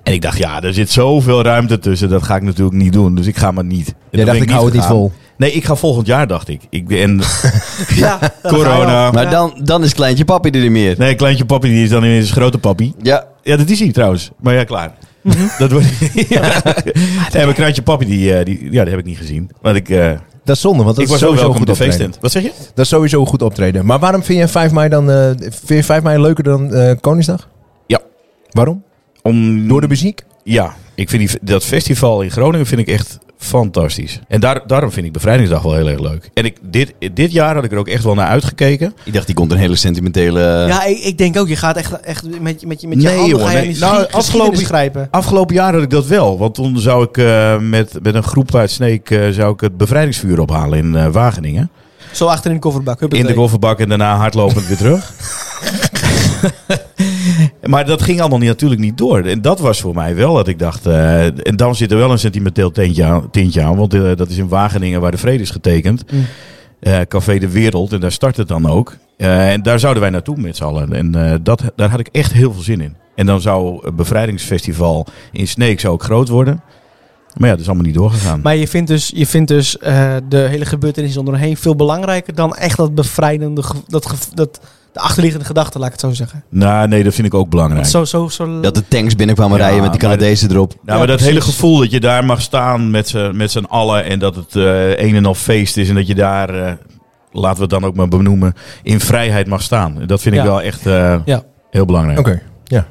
Speaker 3: En ik dacht, ja, er zit zoveel ruimte tussen. Dat ga ik natuurlijk niet doen. Dus ik ga maar niet. En toen
Speaker 5: dacht,
Speaker 3: ben
Speaker 5: ik hou het niet
Speaker 3: gegaan.
Speaker 5: vol.
Speaker 3: Nee, ik ga volgend jaar, dacht ik. ik en
Speaker 2: Ja, dat ga je
Speaker 3: Corona.
Speaker 2: wel.
Speaker 3: Maar
Speaker 1: Maar dan, dan is kleintje papi er niet meer.
Speaker 3: nee, Kleintje Papi die is dan ineens grote papi.
Speaker 1: Ja.
Speaker 3: Ja, dat is hij trouwens. Maar ja, klaar.
Speaker 5: Mhm.
Speaker 3: Dat wordt... ja. En mijn Kraantje Papi, die, eh, die, ja, die heb ik niet gezien. Want ik, eh,
Speaker 5: Dat is zonde, want dat
Speaker 3: ik was
Speaker 5: is
Speaker 3: wel
Speaker 5: sowieso
Speaker 3: welkom op
Speaker 5: goed
Speaker 3: de
Speaker 5: optreden.
Speaker 3: feesttent. Wat zeg je?
Speaker 5: Dat is sowieso een goed optreden. Maar waarom vind je 5 mei dan eh, vind je 5 mei leuker dan eh, Koningsdag?
Speaker 3: Ja.
Speaker 5: Waarom?
Speaker 3: Om...
Speaker 5: Door de muziek?
Speaker 3: Ja, ik vind die, dat festival in Groningen vind ik echt fantastisch. En daar, daarom vind ik Bevrijdingsdag wel heel erg leuk. En ik, dit, dit jaar had ik er ook echt wel naar uitgekeken.
Speaker 1: Ik dacht, die komt een hele sentimentele...
Speaker 2: Ja, ik, ik denk ook. Je gaat echt, echt met, met, met je
Speaker 3: Nee,
Speaker 2: handen
Speaker 3: joh,
Speaker 2: ga je
Speaker 3: nee.
Speaker 2: in die
Speaker 3: Nou,
Speaker 2: geschiedenis
Speaker 3: afgelopen-
Speaker 2: grijpen.
Speaker 3: Afgelopen jaar had ik dat wel. Want toen zou ik eh, met, met een groep uit Sneek eh, zou ik het bevrijdingsvuur ophalen in eh, Wageningen.
Speaker 2: Zo achter in de kofferbak.
Speaker 3: In de
Speaker 2: kofferbak.
Speaker 3: kofferbak en daarna hardlopend weer terug. maar dat ging allemaal niet, natuurlijk niet door. En dat was voor mij wel dat ik dacht... eh, en dan zit er wel een sentimenteel tintje aan. Tintje aan want eh, dat is in Wageningen waar de vrede is getekend.
Speaker 2: Mm.
Speaker 3: Eh, Café de Wereld. En daar start het dan ook. Eh, en daar zouden wij naartoe met z'n allen. En eh, dat, daar had ik echt heel veel zin in. En dan zou het bevrijdingsfestival in Sneek zou ook groot worden. Maar ja, dat is allemaal niet doorgegaan.
Speaker 2: Maar je vindt dus, je vindt dus eh, de hele gebeurtenis eromheen veel belangrijker dan echt dat bevrijdende, ge- dat, ge- dat, de achterliggende gedachte, laat ik het zo zeggen.
Speaker 3: Nou, nee, dat vind ik ook belangrijk.
Speaker 2: Want zo, zo, zo...
Speaker 1: Dat de tanks binnenkwamen
Speaker 3: Ja,
Speaker 1: rijden met die
Speaker 3: maar-
Speaker 1: Canadezen erop.
Speaker 3: Nou,
Speaker 2: Ja,
Speaker 3: maar dat
Speaker 2: precies.
Speaker 3: hele gevoel dat je daar mag staan met z'n, met z'n allen en dat het eh, een en al feest is en dat je daar, eh, laten we het dan ook maar benoemen, in vrijheid mag staan. Dat vind ik
Speaker 2: Ja.
Speaker 3: wel echt eh,
Speaker 2: Ja.
Speaker 3: heel belangrijk.
Speaker 5: Oké, ja.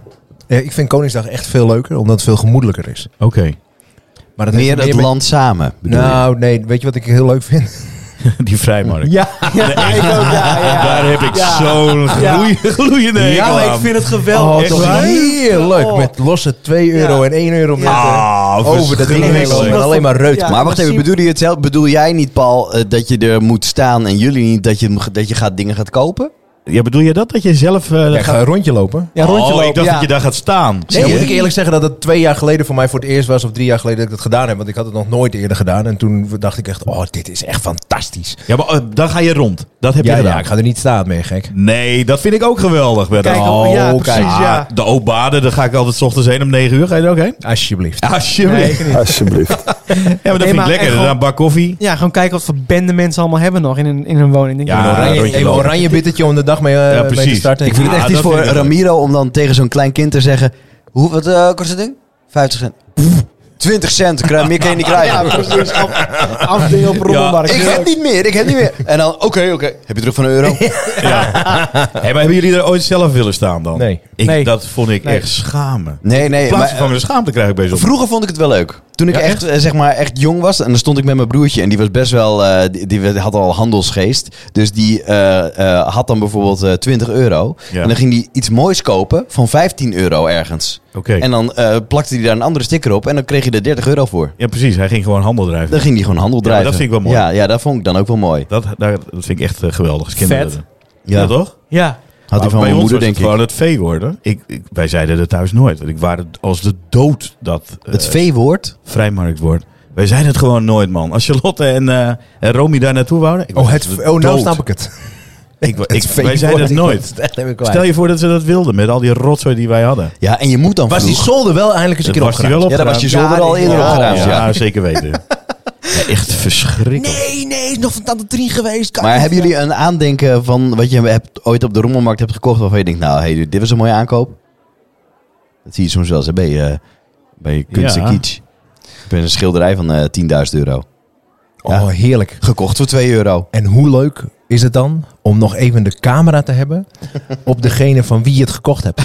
Speaker 5: Ja, Ik vind Koningsdag echt veel leuker, omdat het veel gemoedelijker is.
Speaker 3: Oké.
Speaker 5: Maar dat heeft
Speaker 1: Meer het
Speaker 5: met-
Speaker 1: land samen, bedoel je?
Speaker 5: Nou, nee, weet je wat ik heel leuk vind?
Speaker 3: Die vrijmarkt.
Speaker 2: Ja, ja, ik ook, ja, ja.
Speaker 3: Daar heb ik
Speaker 2: Ja.
Speaker 3: zo'n gloei- gloeiende
Speaker 2: Ja,
Speaker 3: hekel
Speaker 2: maar ik
Speaker 3: aan.
Speaker 2: vind het
Speaker 5: Oh,
Speaker 2: geweldig.
Speaker 3: echt
Speaker 5: toch
Speaker 3: waar?
Speaker 5: heerlijk.
Speaker 2: Oh.
Speaker 5: Met losse 2 euro
Speaker 2: Ja.
Speaker 5: en 1 euro eh, netten.
Speaker 3: Ah,
Speaker 5: Over dat ding heen
Speaker 3: verschrikkelijk.
Speaker 5: lopen en alleen maar reut.
Speaker 2: Ja.
Speaker 5: Maar
Speaker 1: maar wacht even,
Speaker 2: misschien-
Speaker 1: bedoel je het zelf? Bedoel jij niet, Paul, eh, dat je er moet staan en jullie niet dat je, dat je gaat, dingen gaat kopen?
Speaker 3: Ja, bedoel je dat? Dat je zelf... eh,
Speaker 5: ja,
Speaker 3: dat
Speaker 5: ik
Speaker 3: gaat-
Speaker 5: ga een rondje lopen.
Speaker 2: Ja, rondje
Speaker 3: oh,
Speaker 2: lopen,
Speaker 3: ik dacht
Speaker 2: ja.
Speaker 3: dat je daar gaat staan.
Speaker 5: Nee,
Speaker 1: Zie
Speaker 5: dan
Speaker 1: je?
Speaker 5: moet ik eerlijk zeggen dat het twee jaar geleden voor mij voor het eerst was, of drie jaar geleden dat ik dat gedaan heb, want ik had het nog nooit eerder gedaan. En toen dacht ik echt, oh, dit is echt fantastisch.
Speaker 3: Ja, maar eh, dan ga je rond. Dat heb
Speaker 5: Ja,
Speaker 3: je
Speaker 5: ja,
Speaker 3: gedaan.
Speaker 5: ik ga er niet staan mee, gek.
Speaker 3: Nee, dat vind ik ook geweldig. Bert.
Speaker 2: Kijk,
Speaker 3: oh,
Speaker 2: ja,
Speaker 3: kijk.
Speaker 2: precies, ja.
Speaker 3: Ah, De Obade, daar ga ik altijd 's ochtends heen om 9 uur. Ga je er ook heen?
Speaker 5: Alsjeblieft.
Speaker 3: Alsjeblieft.
Speaker 6: Alsjeblieft.
Speaker 3: ja, maar dat
Speaker 2: Nee,
Speaker 3: vind ik
Speaker 2: maar
Speaker 3: lekker.
Speaker 2: echt
Speaker 3: Dan
Speaker 2: gewoon-
Speaker 3: een bak koffie.
Speaker 2: Ja, gewoon kijken wat voor bende mensen allemaal hebben nog in hun, in hun woning. Denk
Speaker 3: Ja,
Speaker 2: ik,
Speaker 5: Een oranje,
Speaker 3: rondje
Speaker 5: even een
Speaker 3: lopen.
Speaker 5: oranje bittertje om de dag mee, eh,
Speaker 3: Ja,
Speaker 5: mee te
Speaker 3: precies.
Speaker 5: starten.
Speaker 1: Ik vind het
Speaker 3: Ah,
Speaker 1: echt
Speaker 3: dat
Speaker 1: iets voor
Speaker 3: vind ik wel.
Speaker 1: Ramiro om dan tegen zo'n klein kind te zeggen... Hoe, wat eh, kost het ding? 50 cent. Pff, 20 cent, krijg, meer kan je niet krijgen.
Speaker 2: afdeel op rommelmarkt.
Speaker 1: ik heb niet meer, ik heb niet meer. En dan, oké, oké. Heb je terug van een euro?
Speaker 3: Ja. Hey, maar hebben jullie er ooit zelf willen staan dan?
Speaker 5: Nee.
Speaker 3: Ik,
Speaker 2: Nee.
Speaker 3: Dat vond ik
Speaker 2: Nee.
Speaker 3: echt schamen.
Speaker 1: Nee, nee.
Speaker 3: In
Speaker 1: maar, eh,
Speaker 3: plaats van de schaamte krijg ik bij zo'n...
Speaker 1: Vroeger vond ik het wel leuk. Toen ik
Speaker 3: Ja,
Speaker 1: echt, eh, zeg maar, echt jong was, en dan stond ik met mijn broertje, en die was best wel, eh, die, die had al handelsgeest. Dus die eh, eh, had dan bijvoorbeeld eh, 20 euro.
Speaker 3: Ja.
Speaker 1: En dan ging hij iets moois kopen van 15 euro ergens.
Speaker 3: Oké.
Speaker 1: En dan eh, plakte hij daar een andere sticker op, en dan kreeg je er 30 euro voor.
Speaker 3: Ja, precies. Hij ging gewoon handel drijven.
Speaker 1: Dan ging hij gewoon handel
Speaker 3: Ja, maar
Speaker 1: drijven.
Speaker 3: dat vind ik wel mooi.
Speaker 1: Ja, ja, dat vond ik dan ook wel mooi.
Speaker 3: Dat, daar, dat vind ik echt eh, geweldig. Als kinderen
Speaker 2: Vet.
Speaker 3: dat doen. Ja. toch?
Speaker 2: Ja.
Speaker 1: Had hij
Speaker 3: Maar
Speaker 1: van
Speaker 3: bij
Speaker 1: mijn
Speaker 3: ons
Speaker 1: moeder,
Speaker 3: was
Speaker 1: denk ik.
Speaker 3: het gewoon het vee worden. Ik, ik- wij zeiden dat thuis nooit. Want ik waren als de dood dat eh,
Speaker 1: Het V-woord.
Speaker 3: vrijmarktwoord. Wij zeiden het gewoon nooit, man. Als Charlotte en, eh, en Romy daar naartoe wouden... ik was
Speaker 5: Oh, het,
Speaker 3: de
Speaker 5: oh, nou
Speaker 3: dood.
Speaker 5: snap ik het.
Speaker 3: Ik, wa- ik,
Speaker 5: Het
Speaker 3: wij zeiden het
Speaker 5: feestwoord.
Speaker 3: nooit.
Speaker 5: Dat heb ik kwijt.
Speaker 3: Stel je voor dat ze dat wilden met al die rotzooi die wij hadden.
Speaker 1: Ja, en je moet dan
Speaker 5: Was die
Speaker 1: vroeg...
Speaker 5: zolder wel eindelijk eens een
Speaker 3: Dat
Speaker 5: keer
Speaker 3: was die
Speaker 5: opgeruimd?
Speaker 3: wel
Speaker 1: ja, daar was je zolder
Speaker 2: Ja,
Speaker 1: al
Speaker 2: die-
Speaker 1: eerder
Speaker 2: ja.
Speaker 1: op
Speaker 3: Oh, Ja,
Speaker 1: geraamd, ja.
Speaker 3: zeker weten. Ja, echt verschrikkelijk.
Speaker 2: Nee, nee, is nog van Tante 3 geweest. kan
Speaker 1: Maar
Speaker 2: niet.
Speaker 1: hebben jullie een aandenken van wat je hebt, ooit op de rommelmarkt hebt gekocht? Waarvan je denkt, nou, hey, dit was een mooie aankoop. Dat zie je soms wel eens hè, bij, eh, bij kunst
Speaker 3: Ja.
Speaker 1: en kitsch. Ik ben een schilderij van eh 10.000 euro. Ja.
Speaker 5: Oh, heerlijk.
Speaker 1: Gekocht voor 2 euro.
Speaker 5: En hoe leuk is het dan om nog even de camera te hebben op degene van wie je het gekocht hebt?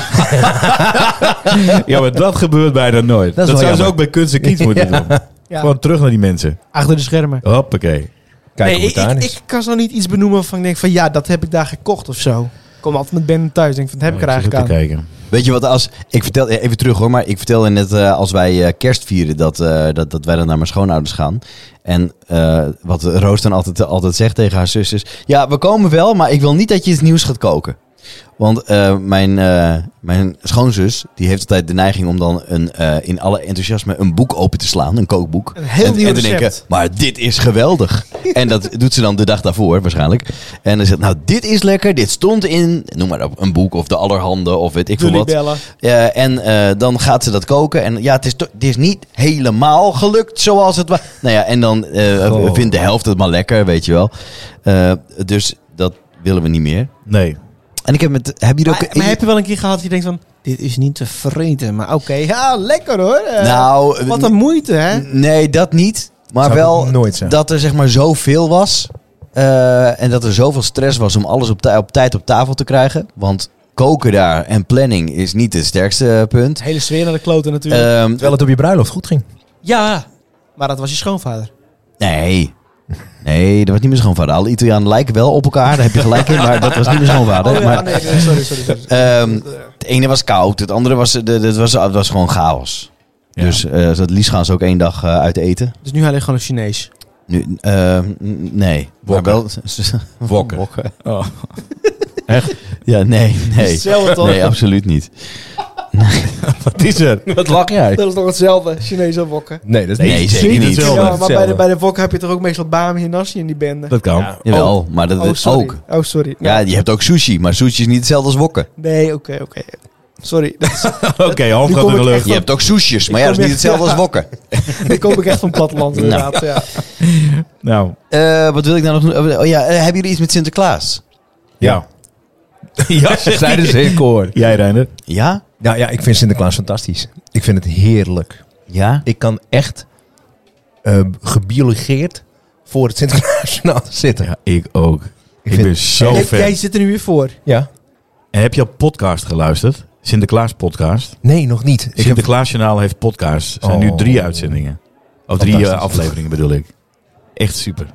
Speaker 3: Ja, maar dat gebeurt bijna nooit.
Speaker 5: Dat
Speaker 3: Dat,
Speaker 5: is wel
Speaker 3: zou ze
Speaker 5: jammer.
Speaker 3: ook bij kunst en kiets moeten doen.
Speaker 2: Ja.
Speaker 3: Gewoon terug naar die mensen.
Speaker 2: Achter de schermen.
Speaker 3: Hoppakee.
Speaker 5: Kijk hoe
Speaker 2: nee,
Speaker 5: het daar
Speaker 2: ik,
Speaker 5: is.
Speaker 2: ik kan zo niet iets benoemen van ik denk van ja, dat heb ik daar gekocht of zo. Ik kom altijd met Ben thuis denk van dat heb ik er
Speaker 3: Ik zit
Speaker 2: eigenlijk
Speaker 3: te
Speaker 2: aan.
Speaker 3: kijken.
Speaker 1: Weet je wat, als, ik vertel, even terug hoor, maar ik vertelde net eh, als wij eh, kerst vieren dat, eh, dat, dat wij dan naar mijn schoonouders gaan. En eh, wat Roos dan altijd, altijd zegt tegen haar zus is, ja we komen wel, maar ik wil niet dat je iets nieuws gaat koken. Want eh, mijn, eh, mijn schoonzus, die heeft altijd de neiging om dan een, eh, in alle enthousiasme een boek open te slaan, een kookboek.
Speaker 2: Een heel
Speaker 1: en,
Speaker 2: nieuw
Speaker 1: en te denken,
Speaker 2: recept.
Speaker 1: maar dit is geweldig. en dat doet ze dan de dag daarvoor waarschijnlijk. En dan zegt, nou dit is lekker, dit stond in, noem maar op, een boek of de allerhande of weet ik veel wat.
Speaker 2: bellen.
Speaker 1: Eh, en eh, dan gaat ze dat koken. En ja, het is, to- het is niet helemaal gelukt zoals het was. Nou ja, en dan eh,
Speaker 5: Goh.
Speaker 1: vindt de helft het maar lekker, weet je wel. Eh, dus dat willen we niet meer.
Speaker 3: Nee.
Speaker 1: En ik heb met. Heb je er ook.
Speaker 2: Maar, maar heb je wel een keer gehad dat je denkt van... Dit is niet te vreten, maar oké. ja, lekker hoor. Eh,
Speaker 1: nou,
Speaker 2: wat een moeite, hè?
Speaker 1: nee, dat niet. Maar
Speaker 5: Zou ik
Speaker 1: wel
Speaker 5: ook nooit zeggen.
Speaker 1: dat er zeg maar zoveel was. eh, en dat er zoveel stress was om alles op, tij- op tijd op tafel te krijgen. Want koken daar en planning is niet het sterkste punt.
Speaker 2: Het hele sfeer naar de kloten natuurlijk.
Speaker 1: Ehm,
Speaker 5: Terwijl het op je bruiloft goed ging.
Speaker 2: ja, maar dat was je schoonvader.
Speaker 1: Nee. Nee, dat was niet mijn schoonvader. Alle Italianen lijken wel op elkaar, daar heb je gelijk in, maar dat was niet mijn schoonvader.
Speaker 2: Oh, ja,
Speaker 1: maar,
Speaker 2: nee, nee, sorry, sorry. sorry.
Speaker 1: ehm, het ene was koud, het andere was, de- het was, het was gewoon chaos.
Speaker 3: Ja.
Speaker 1: Dus eh dat liefst gaan ze ook één dag eh, uit eten.
Speaker 2: Dus nu alleen gewoon een Chinees.
Speaker 1: Nu, ehm, n- nee. Maar
Speaker 3: Wokken.
Speaker 1: wel,
Speaker 3: Wokken.
Speaker 1: Wokken.
Speaker 3: Oh.
Speaker 1: Ja, nee, nee.
Speaker 2: Hetzelfde toch?
Speaker 1: Nee, absoluut niet.
Speaker 3: Wat is er?
Speaker 5: Wat lach jij?
Speaker 2: Dat is toch hetzelfde, Chinees aan wokken.
Speaker 5: Nee, dat is
Speaker 1: Nee,
Speaker 5: niet.
Speaker 1: zeker
Speaker 3: niet
Speaker 1: niet.
Speaker 3: hetzelfde.
Speaker 2: Ja, maar bij de, bij de wokken heb je toch ook meestal Bami en Nasi in die bende?
Speaker 3: Dat kan.
Speaker 1: Jawel, maar dat
Speaker 2: oh,
Speaker 1: is
Speaker 2: sorry.
Speaker 1: ook.
Speaker 2: Oh, sorry.
Speaker 1: Ja,
Speaker 2: Nou,
Speaker 1: je hebt ook sushi, maar sushi is niet hetzelfde als wokken.
Speaker 2: Nee, oké, oké. Sorry,
Speaker 3: Oké, half
Speaker 2: Nu
Speaker 3: gaat
Speaker 2: kom
Speaker 3: in
Speaker 2: ik
Speaker 3: de
Speaker 2: echt
Speaker 3: lucht.
Speaker 1: Je hebt ook sushis, maar ja, dat is niet hetzelfde als wokken.
Speaker 2: dan kom ik echt van het platteland inderdaad. Ja.
Speaker 3: Nou,
Speaker 1: Eh, wat wil ik nou nog doen? Oh ja, eh, hebben jullie iets met Sinterklaas?
Speaker 3: ja. Ja, zegt hij.
Speaker 5: Zeiden ze in koor.
Speaker 3: Jij, Reiner.
Speaker 1: Ja?
Speaker 5: Nou ja, ik vind Sinterklaas fantastisch. Ik vind het heerlijk.
Speaker 1: Ja?
Speaker 5: Ik kan echt eh, gebiologeerd voor het Sinterklaasjournaal zitten.
Speaker 3: Ja, ik ook. Ik,
Speaker 5: vind-
Speaker 3: ben zo
Speaker 2: Jij-
Speaker 3: fan.
Speaker 2: Jij zit er nu weer voor.
Speaker 5: Ja?
Speaker 3: En heb je al podcast geluisterd? Sinterklaas podcast.
Speaker 5: Nee, nog niet. Ik heb-
Speaker 3: Sinterklaas Journaal heeft podcasts. Er zijn nu
Speaker 5: Oh.
Speaker 3: drie uitzendingen. Of drie eh,
Speaker 5: Fantastisch.
Speaker 3: afleveringen bedoel ik. Echt super.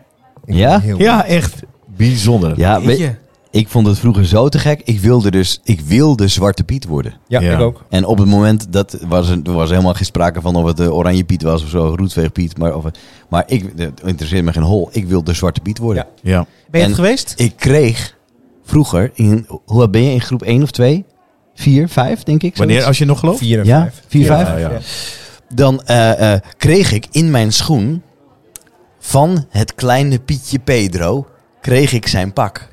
Speaker 5: ik
Speaker 1: Ja?
Speaker 5: ben heel-
Speaker 3: Ja, echt bijzonder.
Speaker 1: Ja,
Speaker 2: Weet
Speaker 1: weet
Speaker 2: je?
Speaker 1: ik vond het vroeger zo te gek. Ik wilde dus, ik wilde Zwarte Piet worden.
Speaker 5: Ja,
Speaker 3: Ja.
Speaker 5: ik ook.
Speaker 1: En op het moment, dat was, er was helemaal geen sprake van of het eh, Oranje Piet was of zo, Roetveeg Piet. Maar, of, maar ik, het interesseert me geen hol. Ik wilde Zwarte Piet worden.
Speaker 3: Ja.
Speaker 2: Ben je
Speaker 1: En-
Speaker 2: het geweest?
Speaker 1: Ik kreeg vroeger, in, hoe oud ben je, in groep 1 of 2? 4, 5 denk ik.
Speaker 3: Wanneer,
Speaker 1: zoiets.
Speaker 3: als je nog gelooft?
Speaker 5: Vier en
Speaker 1: Ja,
Speaker 5: vijf.
Speaker 1: 4, 5.
Speaker 3: Ja, ja.
Speaker 1: dan eh, eh, kreeg ik in mijn schoen van het kleine Pietje Pedro, kreeg ik zijn pak.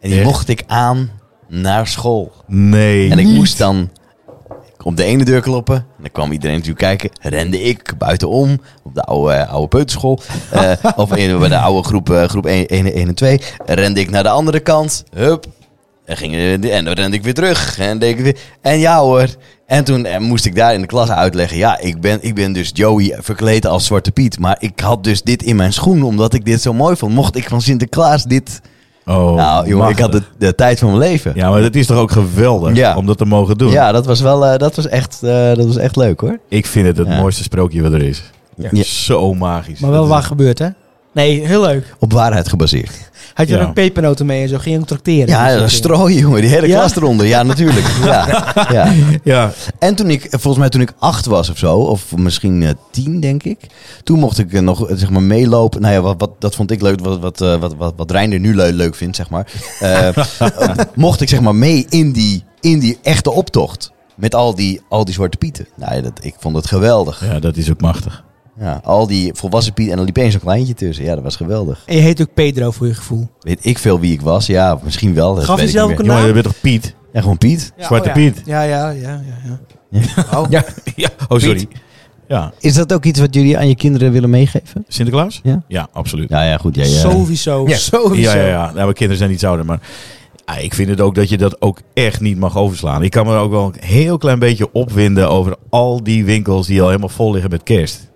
Speaker 1: En die
Speaker 3: Echt?
Speaker 1: mocht ik aan naar school.
Speaker 3: Nee.
Speaker 1: En ik moest dan op de ene deur kloppen. En dan kwam iedereen natuurlijk kijken. Rende ik buitenom op de oude, eh, oude peuterschool. Eh, of in, bij de oude groep, eh, groep 1, 1, en 2. Rende ik naar de andere kant. Hup. En, ging, eh, die- en dan rende ik weer terug. En, deed ik weer, en ja hoor. En toen eh, moest ik daar in de klas uitleggen. Ja, ik ben, ik ben dus Joey verkleed als Zwarte Piet. Maar ik had dus dit in mijn schoen omdat ik dit zo mooi vond. Mocht ik van Sinterklaas dit...
Speaker 3: Oh,
Speaker 1: nou jongen, ik
Speaker 3: machtig.
Speaker 1: had de, de tijd van mijn leven.
Speaker 3: Ja, maar dat is toch ook geweldig
Speaker 1: Ja.
Speaker 3: om dat te mogen doen?
Speaker 1: Ja, dat was wel eh, dat was echt, eh, dat was echt leuk hoor.
Speaker 3: Ik vind het het
Speaker 1: Ja.
Speaker 3: mooiste sprookje wat er is.
Speaker 1: Ja.
Speaker 3: Zo magisch.
Speaker 2: Maar wel
Speaker 3: Dat
Speaker 2: waar
Speaker 3: is-
Speaker 2: gebeurd, hè? Nee, heel leuk.
Speaker 1: Op waarheid gebaseerd.
Speaker 2: Had je er
Speaker 3: Ja.
Speaker 2: ook pepernoten mee en zo? Ging je ook trakteren?
Speaker 1: Ja,
Speaker 2: Dat soort dingen.
Speaker 1: strooien jongen, die hele
Speaker 2: Ja?
Speaker 1: klas eronder. Ja, natuurlijk. Ja. Ja.
Speaker 3: Ja,
Speaker 1: En toen ik, volgens mij toen ik acht was of zo, of misschien eh, tien denk ik. Toen mocht ik eh, nog eh, zeg maar meelopen. Nou ja, wat, wat, dat vond ik leuk, wat, wat, eh, wat, wat, wat Reinder nu leuk, leuk vindt zeg maar. Eh, mocht ik zeg maar mee in die, in die echte optocht. Met al die, al die zwarte pieten. Nou ja, dat, ik vond het geweldig.
Speaker 3: ja, dat is ook machtig.
Speaker 1: Ja, al die volwassen pieten en dan liep eens zo'n kleintje tussen. Ja, dat was geweldig.
Speaker 2: En je heet ook Pedro voor je gevoel.
Speaker 1: Weet ik veel wie ik was? Ja, misschien wel. Dat
Speaker 2: Gaf
Speaker 1: weet
Speaker 2: je
Speaker 1: ik
Speaker 2: zelf
Speaker 1: niet
Speaker 2: ook
Speaker 1: meer.
Speaker 2: een
Speaker 3: Jongen,
Speaker 2: naam?
Speaker 3: je bent toch Piet?
Speaker 1: Ja, gewoon Piet.
Speaker 3: Zwarte Piet.
Speaker 2: Ja, ja, ja. ja, ja.
Speaker 5: Ja.
Speaker 3: Ja, oh sorry. Ja,
Speaker 1: Is dat ook iets wat jullie aan je kinderen willen meegeven?
Speaker 3: Sinterklaas?
Speaker 1: Ja.
Speaker 3: absoluut.
Speaker 1: Ja, ja, goed. Ja, ja.
Speaker 2: Sowieso.
Speaker 5: Ja.
Speaker 2: Sowieso.
Speaker 3: Ja, ja, ja. Nou, mijn kinderen zijn iets ouder, maar ja, ik vind het ook dat je dat ook echt niet mag overslaan. Ik kan me ook wel een heel klein beetje opwinden over al die winkels die al helemaal vol liggen met kerst.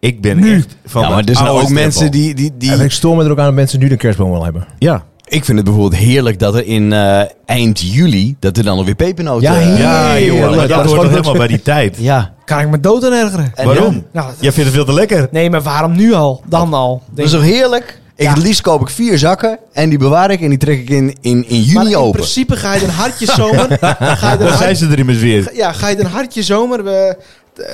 Speaker 3: Ik ben echt van
Speaker 1: Ja, maar
Speaker 3: de
Speaker 1: er zijn
Speaker 3: oude
Speaker 1: ook
Speaker 3: stempel.
Speaker 1: mensen die... die, die...
Speaker 5: En ik stoor me er ook aan dat mensen nu de kerstboom wel hebben.
Speaker 3: Ja,
Speaker 1: Ik vind het bijvoorbeeld heerlijk dat er in eh, eind juli... dat er dan alweer pepernoten...
Speaker 5: Ja,
Speaker 1: eh,
Speaker 3: ja
Speaker 5: Heerlijk.
Speaker 3: jongen, maar dat
Speaker 5: Dat is
Speaker 3: hoort
Speaker 5: gewoon
Speaker 3: toch
Speaker 5: dat-
Speaker 3: helemaal bij die tijd.
Speaker 1: ja.
Speaker 2: Kan ik me dood aan ergeren?
Speaker 1: En
Speaker 3: Waarom?
Speaker 1: ja,
Speaker 2: Nou,
Speaker 3: Jij vindt het veel te lekker.
Speaker 2: Nee, maar waarom nu al? Dan al.
Speaker 1: Dat
Speaker 2: Denk
Speaker 1: is
Speaker 2: ik.
Speaker 1: toch heerlijk? Ik het liefst koop ik vier zakken en die bewaar ik en die trek ik in, in, in juni
Speaker 2: Maar in
Speaker 1: open.
Speaker 2: principe ga je een hartje zomer. ga je een
Speaker 3: Dan zijn
Speaker 2: hart-
Speaker 3: ze er immers weer.
Speaker 2: ja, ga je een hartje zomer. We, eh,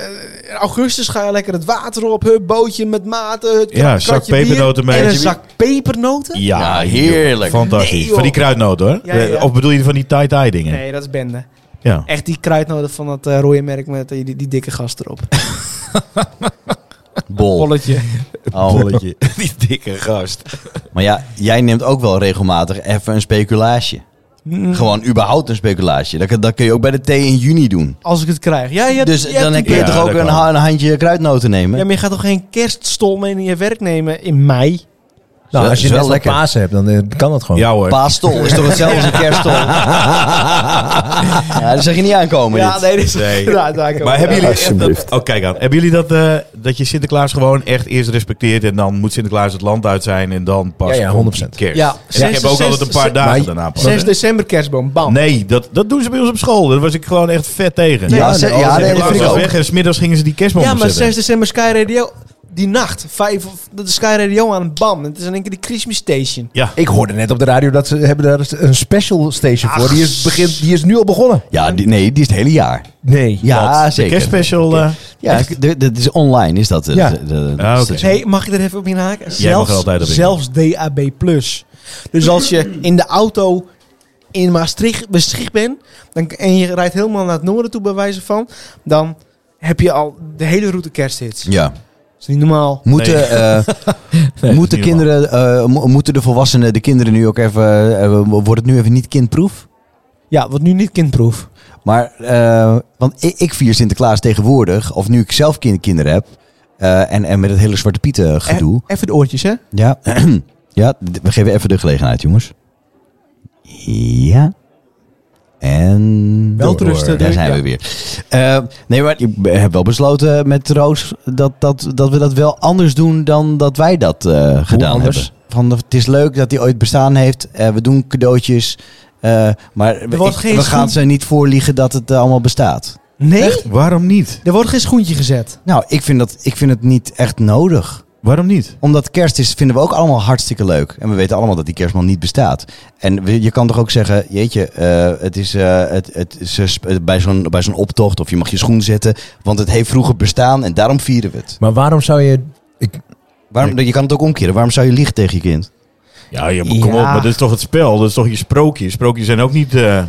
Speaker 2: in augustus ga je lekker het water op. Hup, bootje met maten. hup,
Speaker 3: Ja,
Speaker 2: kratje
Speaker 3: zak
Speaker 2: bier
Speaker 3: pepernoten mee.
Speaker 2: En een
Speaker 3: Kratje
Speaker 2: zak pepernoten?
Speaker 1: Ja, heerlijk.
Speaker 3: Fantastisch.
Speaker 2: Nee, joh.
Speaker 3: van die kruidnoot hoor.
Speaker 2: Ja, ja, ja.
Speaker 3: Of bedoel je van die tie-tie dingen?
Speaker 2: Nee, dat is bende.
Speaker 3: Ja.
Speaker 2: Echt die kruidnoten van dat eh, rode merk met die, die, die dikke gast erop.
Speaker 1: Bol.
Speaker 2: Bolletje.
Speaker 1: Oh.
Speaker 3: Bolletje. die dikke gast.
Speaker 1: Maar ja, jij neemt ook wel regelmatig even een speculaasje. Gewoon überhaupt een speculaasje. Dat, kun- dat kun je ook bij de thee in juni doen.
Speaker 2: Als ik het krijg. Ja, je hebt-
Speaker 1: Dus
Speaker 2: je hebt
Speaker 1: dan
Speaker 2: die
Speaker 1: kun je
Speaker 3: Ja,
Speaker 1: toch ook
Speaker 3: dat
Speaker 1: een,
Speaker 3: kan.
Speaker 1: ha- een handje kruidnoten
Speaker 2: Ja,
Speaker 1: nemen?
Speaker 2: maar je gaat toch geen kerststol mee naar je werk nemen in mei?
Speaker 5: Nou,
Speaker 1: Zo,
Speaker 5: als je
Speaker 1: is wel
Speaker 5: net wel
Speaker 1: lekker.
Speaker 5: Pasen hebt, dan eh, kan dat gewoon.
Speaker 3: Ja hoor.
Speaker 1: Paastol is toch hetzelfde als een kerststol? ja, dat zeg je niet aankomen dit.
Speaker 2: nee, dat is
Speaker 3: Nee.
Speaker 2: Ja, daar kan-
Speaker 3: Maar hebben
Speaker 2: ja.
Speaker 3: jullie echt dat, oh, kijk aan. Hebben jullie dat, eh, dat je Sinterklaas gewoon echt eerst respecteert en dan moet Sinterklaas het land uit zijn en dan pas
Speaker 5: Ja, ja,
Speaker 3: komt
Speaker 5: 100%.
Speaker 3: die kerst?
Speaker 2: Ja,
Speaker 3: En
Speaker 2: zes-
Speaker 3: ik heb ook
Speaker 2: zes-
Speaker 3: altijd een paar
Speaker 2: zes-
Speaker 3: dagen
Speaker 5: maar-
Speaker 3: daarna pas.
Speaker 2: 6 december kerstboom, bam.
Speaker 3: Nee, dat, dat doen ze bij ons op school. Daar was ik gewoon echt vet tegen.
Speaker 1: Ja,
Speaker 5: Ja,
Speaker 1: ze-
Speaker 5: nee,
Speaker 1: ja,
Speaker 5: als
Speaker 1: nee, dat
Speaker 5: je Sinterklaas
Speaker 1: vind ik
Speaker 3: was
Speaker 1: ook.
Speaker 3: weg en smiddags gingen ze die kerstboom
Speaker 2: ja, maar
Speaker 3: opzetten.
Speaker 2: 6 december Sky Radio, die nacht, 5, dat is Sky Radio aan, bam. Het is in één keer die Christmas Station.
Speaker 3: Ja.
Speaker 5: Ik hoorde net op de radio dat ze hebben daar een special station voor. Die is, begint, die is nu al begonnen.
Speaker 1: Ja, die, nee, die is het hele jaar.
Speaker 5: Nee.
Speaker 1: Ja,
Speaker 3: Wat? De
Speaker 1: zeker.
Speaker 3: kerstspecial. eh,
Speaker 1: Ja, d- dat is online, is dat? eh,
Speaker 5: Ja.
Speaker 1: de- de- de-
Speaker 3: Ah, oké.
Speaker 1: de-
Speaker 2: Nee, mag ik er even op inhaken?
Speaker 3: Jij mag er altijd op in.
Speaker 2: zelfs DAB+. Dus als je in de auto in Maastricht beschikt bent dan, en je rijdt helemaal naar het noorden toe bij wijze van, dan heb je al de hele route kersthits.
Speaker 1: Ja.
Speaker 2: Dat is niet normaal.
Speaker 1: Moeten,
Speaker 3: Nee.
Speaker 1: eh,
Speaker 3: is
Speaker 1: moeten,
Speaker 3: niet
Speaker 1: kinderen, eh, mo- moeten de volwassenen de kinderen nu ook even... eh, wordt het nu even niet kindproef?
Speaker 2: Ja, wat nu niet kindproef.
Speaker 1: Maar, eh, want ik, ik vier Sinterklaas tegenwoordig, of nu ik zelf kind, kinderen heb... eh, en, en met het hele Zwarte Pieten gedoe.
Speaker 2: E- even de oortjes, hè?
Speaker 1: Ja, ja d- we geven even de gelegenheid, jongens. Ja. En...
Speaker 2: Wel te rusten,
Speaker 1: Daar
Speaker 2: Dirk,
Speaker 1: zijn
Speaker 2: ja.
Speaker 1: we weer. Eh, nee, maar ik be- heb wel besloten met Roos dat, dat, dat we dat wel anders doen dan dat wij dat eh, gedaan
Speaker 5: anders?
Speaker 1: hebben. Van, het is leuk dat hij ooit bestaan heeft. eh, we doen cadeautjes. eh, maar we,
Speaker 2: wordt
Speaker 1: ik-
Speaker 2: geen
Speaker 1: we
Speaker 2: schoen-
Speaker 1: gaan ze niet voorliegen dat het eh, allemaal bestaat.
Speaker 2: Nee,
Speaker 3: Waarom niet?
Speaker 2: er wordt geen schoentje gezet.
Speaker 1: Nou, ik vind, dat, ik vind het niet echt nodig.
Speaker 3: Waarom niet?
Speaker 1: Omdat kerst is, vinden we ook allemaal hartstikke leuk. En we weten allemaal dat die kerstman niet bestaat. En we- je kan toch ook zeggen, jeetje, eh, het is, eh, het, het is, eh, sp- eh, bij zo'n bij zo'n optocht of je mag je schoen zetten. Want het heeft vroeger bestaan en daarom vieren we het.
Speaker 5: Maar waarom zou je...
Speaker 1: Waarom, je kan het ook omkeren. Waarom zou je liegen tegen je kind?
Speaker 3: Ja, je, kom op,
Speaker 2: Ja.
Speaker 3: maar dat is toch het spel? Dat is toch je sprookje? Sprookjes zijn ook niet... eh,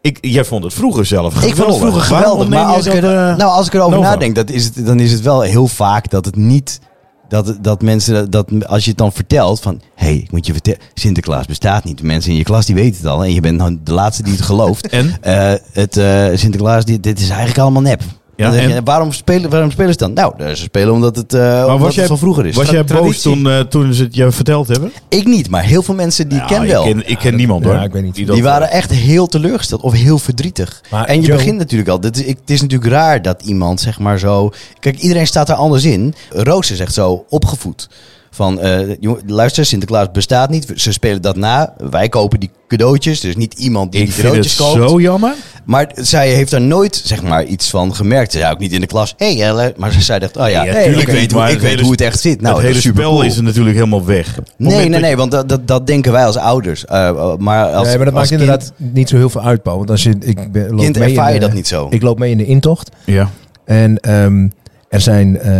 Speaker 3: ik, jij vond het vroeger zelf
Speaker 1: Ik vond het vroeger
Speaker 3: Waarom
Speaker 1: geweldig. Maar
Speaker 3: ontneem
Speaker 1: als
Speaker 3: jij
Speaker 1: ik, er,
Speaker 3: dat, eh,
Speaker 1: nou, als ik erover
Speaker 3: Nova?
Speaker 1: nadenk, dat is het, dan is het wel heel vaak dat het niet... Dat, dat mensen, dat, als je het dan vertelt van... Hé, hey, ik moet je vertellen, Sinterklaas bestaat niet. De mensen in je klas die weten het al. En je bent dan de laatste die het gelooft.
Speaker 3: En?
Speaker 1: Eh, het, eh, Sinterklaas, dit, dit is eigenlijk allemaal nep.
Speaker 3: Ja,
Speaker 1: Dan zeg je,
Speaker 3: en?
Speaker 1: waarom, spelen, waarom spelen ze dan? Nou, eh, ze spelen omdat het, eh, omdat
Speaker 3: was
Speaker 1: het
Speaker 3: jij-
Speaker 1: van vroeger is.
Speaker 3: Was jij boos
Speaker 2: traditie.
Speaker 3: toen, eh, toen ze het je verteld hebben?
Speaker 1: Ik niet, maar heel veel mensen die ik
Speaker 3: Nou,
Speaker 1: ken wel.
Speaker 3: Ik ken, ik ken niemand
Speaker 5: ja,
Speaker 3: hoor.
Speaker 5: ik weet niet.
Speaker 1: Die waren
Speaker 3: eh,
Speaker 1: echt heel teleurgesteld of heel verdrietig.
Speaker 5: Maar
Speaker 1: en je
Speaker 5: Joe-
Speaker 1: begint natuurlijk al. Dit is, ik, het is natuurlijk raar dat iemand zeg maar zo. Kijk, iedereen staat er anders in. Roos is echt zo opgevoed. Van, eh, jongen, luister, Sinterklaas bestaat niet. Ze spelen dat na. Wij kopen die cadeautjes. Dus niet iemand die
Speaker 3: Ik
Speaker 1: die
Speaker 3: vind het
Speaker 1: cadeautjes koopt.
Speaker 3: zo jammer.
Speaker 5: Nou,
Speaker 1: Maar zij heeft daar nooit zeg maar, iets van gemerkt. Ze zei ook niet in de klas. hey, Ellen. Maar ze zei dacht, oh ja,
Speaker 3: Ja,
Speaker 1: hey,
Speaker 3: tuurlijk
Speaker 1: ik weet,
Speaker 3: niet,
Speaker 1: hoe,
Speaker 3: maar
Speaker 1: ik
Speaker 3: het
Speaker 1: weet
Speaker 3: hele
Speaker 1: hoe het echt zit. Nou,
Speaker 3: het
Speaker 1: dat
Speaker 3: hele
Speaker 1: is super
Speaker 3: spel
Speaker 1: cool.
Speaker 3: is er natuurlijk helemaal weg. Op het
Speaker 1: Nee,
Speaker 3: moment
Speaker 1: nee,
Speaker 3: dat
Speaker 1: nee, want dat, dat, dat denken wij als ouders. Eh, eh, maar als,
Speaker 5: nee, maar dat maakt
Speaker 1: als kind-
Speaker 5: inderdaad niet zo heel veel uit, Paul. Want als je... Ik ben, loop
Speaker 1: Kind
Speaker 5: mee in
Speaker 1: ervaar je
Speaker 5: de-
Speaker 1: dat niet zo.
Speaker 5: Ik loop mee in de intocht.
Speaker 3: je- Ja.
Speaker 5: En ehm, er zijn eh,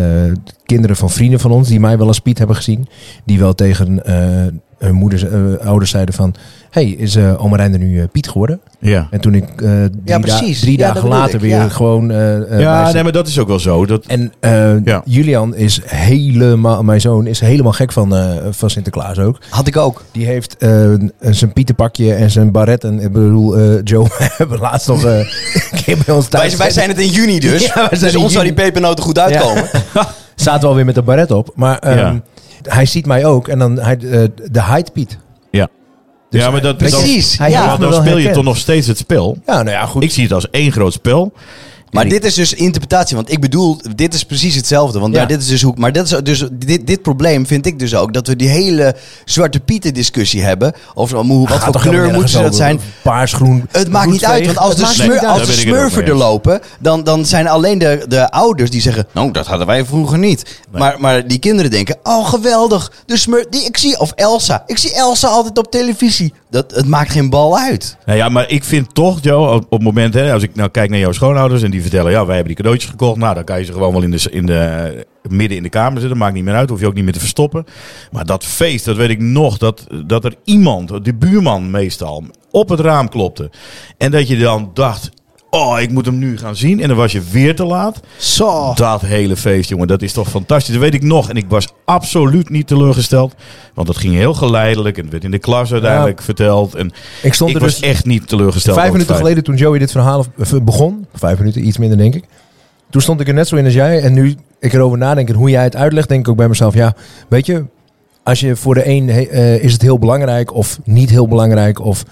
Speaker 5: kinderen van vrienden van ons die mij wel eens Piet hebben gezien. Die wel tegen eh, hun moeders, eh, ouders zeiden van... hey, is eh oma Reinder nu eh, Piet geworden?
Speaker 3: Ja.
Speaker 5: En toen ik eh, drie,
Speaker 1: Ja,
Speaker 5: da-
Speaker 1: precies.
Speaker 5: drie
Speaker 1: Ja, dat
Speaker 5: dagen
Speaker 1: bedoel
Speaker 5: later
Speaker 1: ik,
Speaker 5: weer
Speaker 1: ja.
Speaker 5: gewoon... eh, eh, bij
Speaker 3: ja,
Speaker 5: ze-
Speaker 3: nee, maar dat is ook wel zo. Dat,
Speaker 5: En eh,
Speaker 3: Ja.
Speaker 5: Julian is helemaal, mijn zoon is helemaal gek van, eh, van Sinterklaas ook.
Speaker 1: Had ik ook.
Speaker 5: Die heeft eh, een- zijn pietenpakje en zijn baret. En ik bedoel, eh, Joe, we hebben laatst nog eh, een keer bij ons thuis.
Speaker 1: Wij, wij zijn het in juni dus.
Speaker 5: Ja, wij zijn
Speaker 1: dus
Speaker 5: in
Speaker 1: ons zou die
Speaker 5: juni.
Speaker 1: pepernoten goed uitkomen.
Speaker 5: Zaten we alweer met een baret op. Maar ehm,
Speaker 3: Ja.
Speaker 5: hij ziet mij ook. En dan hij, eh, de height Piet.
Speaker 3: ja.
Speaker 5: Dus
Speaker 3: ja, maar dat,
Speaker 1: Precies.
Speaker 3: dan-
Speaker 5: Hij
Speaker 1: Ja.
Speaker 5: heeft
Speaker 3: maar
Speaker 5: me
Speaker 3: dan
Speaker 5: wel
Speaker 3: speel je
Speaker 5: herkend.
Speaker 3: toch nog steeds het spel.
Speaker 5: Ja, nou ja, goed.
Speaker 3: Ik zie het als één groot spel.
Speaker 1: Maar
Speaker 5: En ik-
Speaker 1: dit is dus interpretatie, want ik bedoel, dit is precies hetzelfde. Want
Speaker 5: Ja.
Speaker 1: nou, dit is dus hoe. Maar dat is dus, dit, dit probleem vind ik dus ook dat we die hele Zwarte Pieten discussie hebben. Over om hoe- wat
Speaker 5: Ah, Gaat
Speaker 1: voor
Speaker 5: toch helemaal
Speaker 1: kleur moeten ze dat
Speaker 5: nergens
Speaker 1: zijn.
Speaker 5: over? Paars, groen.
Speaker 1: Het maakt niet uit,
Speaker 5: bloedvee.
Speaker 1: want als
Speaker 5: Het
Speaker 1: de,
Speaker 5: maakt
Speaker 1: smur,
Speaker 5: niet uit.
Speaker 1: als
Speaker 3: Daar
Speaker 1: de
Speaker 3: ben ik het ook
Speaker 1: smurfen
Speaker 3: mee
Speaker 1: er
Speaker 3: eens.
Speaker 1: lopen, dan, dan zijn alleen de, de ouders die zeggen... Nou, dat hadden wij vroeger niet. Maar, maar die kinderen denken... Oh, geweldig, de smurf... Die, ik zie, of Elsa. Ik zie Elsa altijd op televisie. Dat, het maakt geen bal uit.
Speaker 3: Nou ja, maar ik vind toch, Joe, op, op het moment, hè, als ik nou kijk naar jouw schoonouders en die vertellen, ja, wij hebben die cadeautjes gekocht. Nou, dan kan je ze gewoon wel in de, in de, midden in de kamer zitten. Maakt niet meer uit, hoef je ook niet meer te verstoppen. Maar dat feest, dat weet ik nog, dat, dat er iemand, de buurman meestal, op het raam klopte. En dat je dan dacht, oh, ik moet hem nu gaan zien. En dan was je weer te laat.
Speaker 2: Zo.
Speaker 3: Dat hele feest, jongen, dat is toch fantastisch. Dat weet ik nog. En ik was absoluut niet teleurgesteld. Want dat ging heel geleidelijk. En het werd in de klas uiteindelijk verteld. En
Speaker 5: Ik stond
Speaker 3: ik
Speaker 5: er
Speaker 3: was
Speaker 5: dus
Speaker 3: echt niet teleurgesteld.
Speaker 5: vijf
Speaker 3: over het
Speaker 5: minuten
Speaker 3: feit.
Speaker 5: geleden toen Joey dit verhaal eh, begon. Vijf minuten, iets minder denk ik. Toen stond ik er net zo in als jij. En nu ik erover nadenk en hoe jij het uitlegt, denk ik ook bij mezelf. Ja, weet je, als je voor de een he- eh, is het heel belangrijk of niet heel belangrijk. Of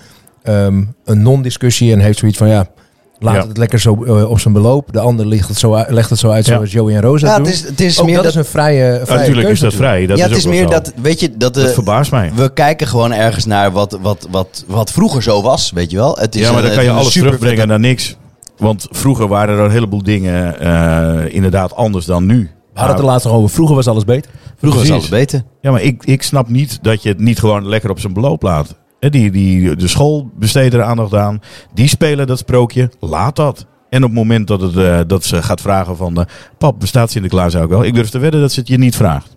Speaker 5: ehm, een non-discussie en heeft zoiets van ja, laat
Speaker 3: Ja.
Speaker 5: het lekker zo eh, op zijn beloop. De ander legt het zo, uit- legt het zo uit
Speaker 3: Ja.
Speaker 5: zoals Joey en Rosa
Speaker 1: Ja,
Speaker 5: doen.
Speaker 1: het is, het is
Speaker 5: Ook
Speaker 1: meer
Speaker 5: dat,
Speaker 1: dat...
Speaker 5: is een vrije, vrije
Speaker 3: natuurlijk Ah, is
Speaker 5: keuze
Speaker 3: dat vrij. Dat
Speaker 1: ja,
Speaker 3: is
Speaker 1: het
Speaker 3: ook
Speaker 1: is
Speaker 3: wel
Speaker 1: meer
Speaker 3: zo.
Speaker 1: dat... Weet je, dat...
Speaker 3: Dat
Speaker 1: eh,
Speaker 3: verbaast mij.
Speaker 1: we kijken gewoon ergens naar wat, wat, wat, wat vroeger zo was, weet je wel. Het is
Speaker 3: Ja, maar
Speaker 1: een-
Speaker 3: dan kan je
Speaker 1: een
Speaker 3: alles
Speaker 1: super-
Speaker 3: terugbrengen naar niks. Want vroeger waren er een heleboel dingen eh, inderdaad anders dan nu.
Speaker 5: We hadden het er laatst nog over. Vroeger was alles beter.
Speaker 1: Vroeger was
Speaker 3: Precies.
Speaker 1: alles beter.
Speaker 3: Ja, maar ik, ik snap niet dat je het niet gewoon lekker op zijn beloop laat. Hè, die, die, de school besteedt er aandacht aan. Die spelen dat sprookje. Laat dat. En op het moment dat, het, eh, dat ze gaat vragen van... eh, pap, bestaat Sinterklaas ook wel? Ik durf te wedden dat ze het je niet vraagt.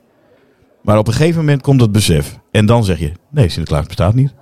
Speaker 3: Maar op een gegeven moment komt het besef. En dan zeg je, nee, Sinterklaas bestaat niet.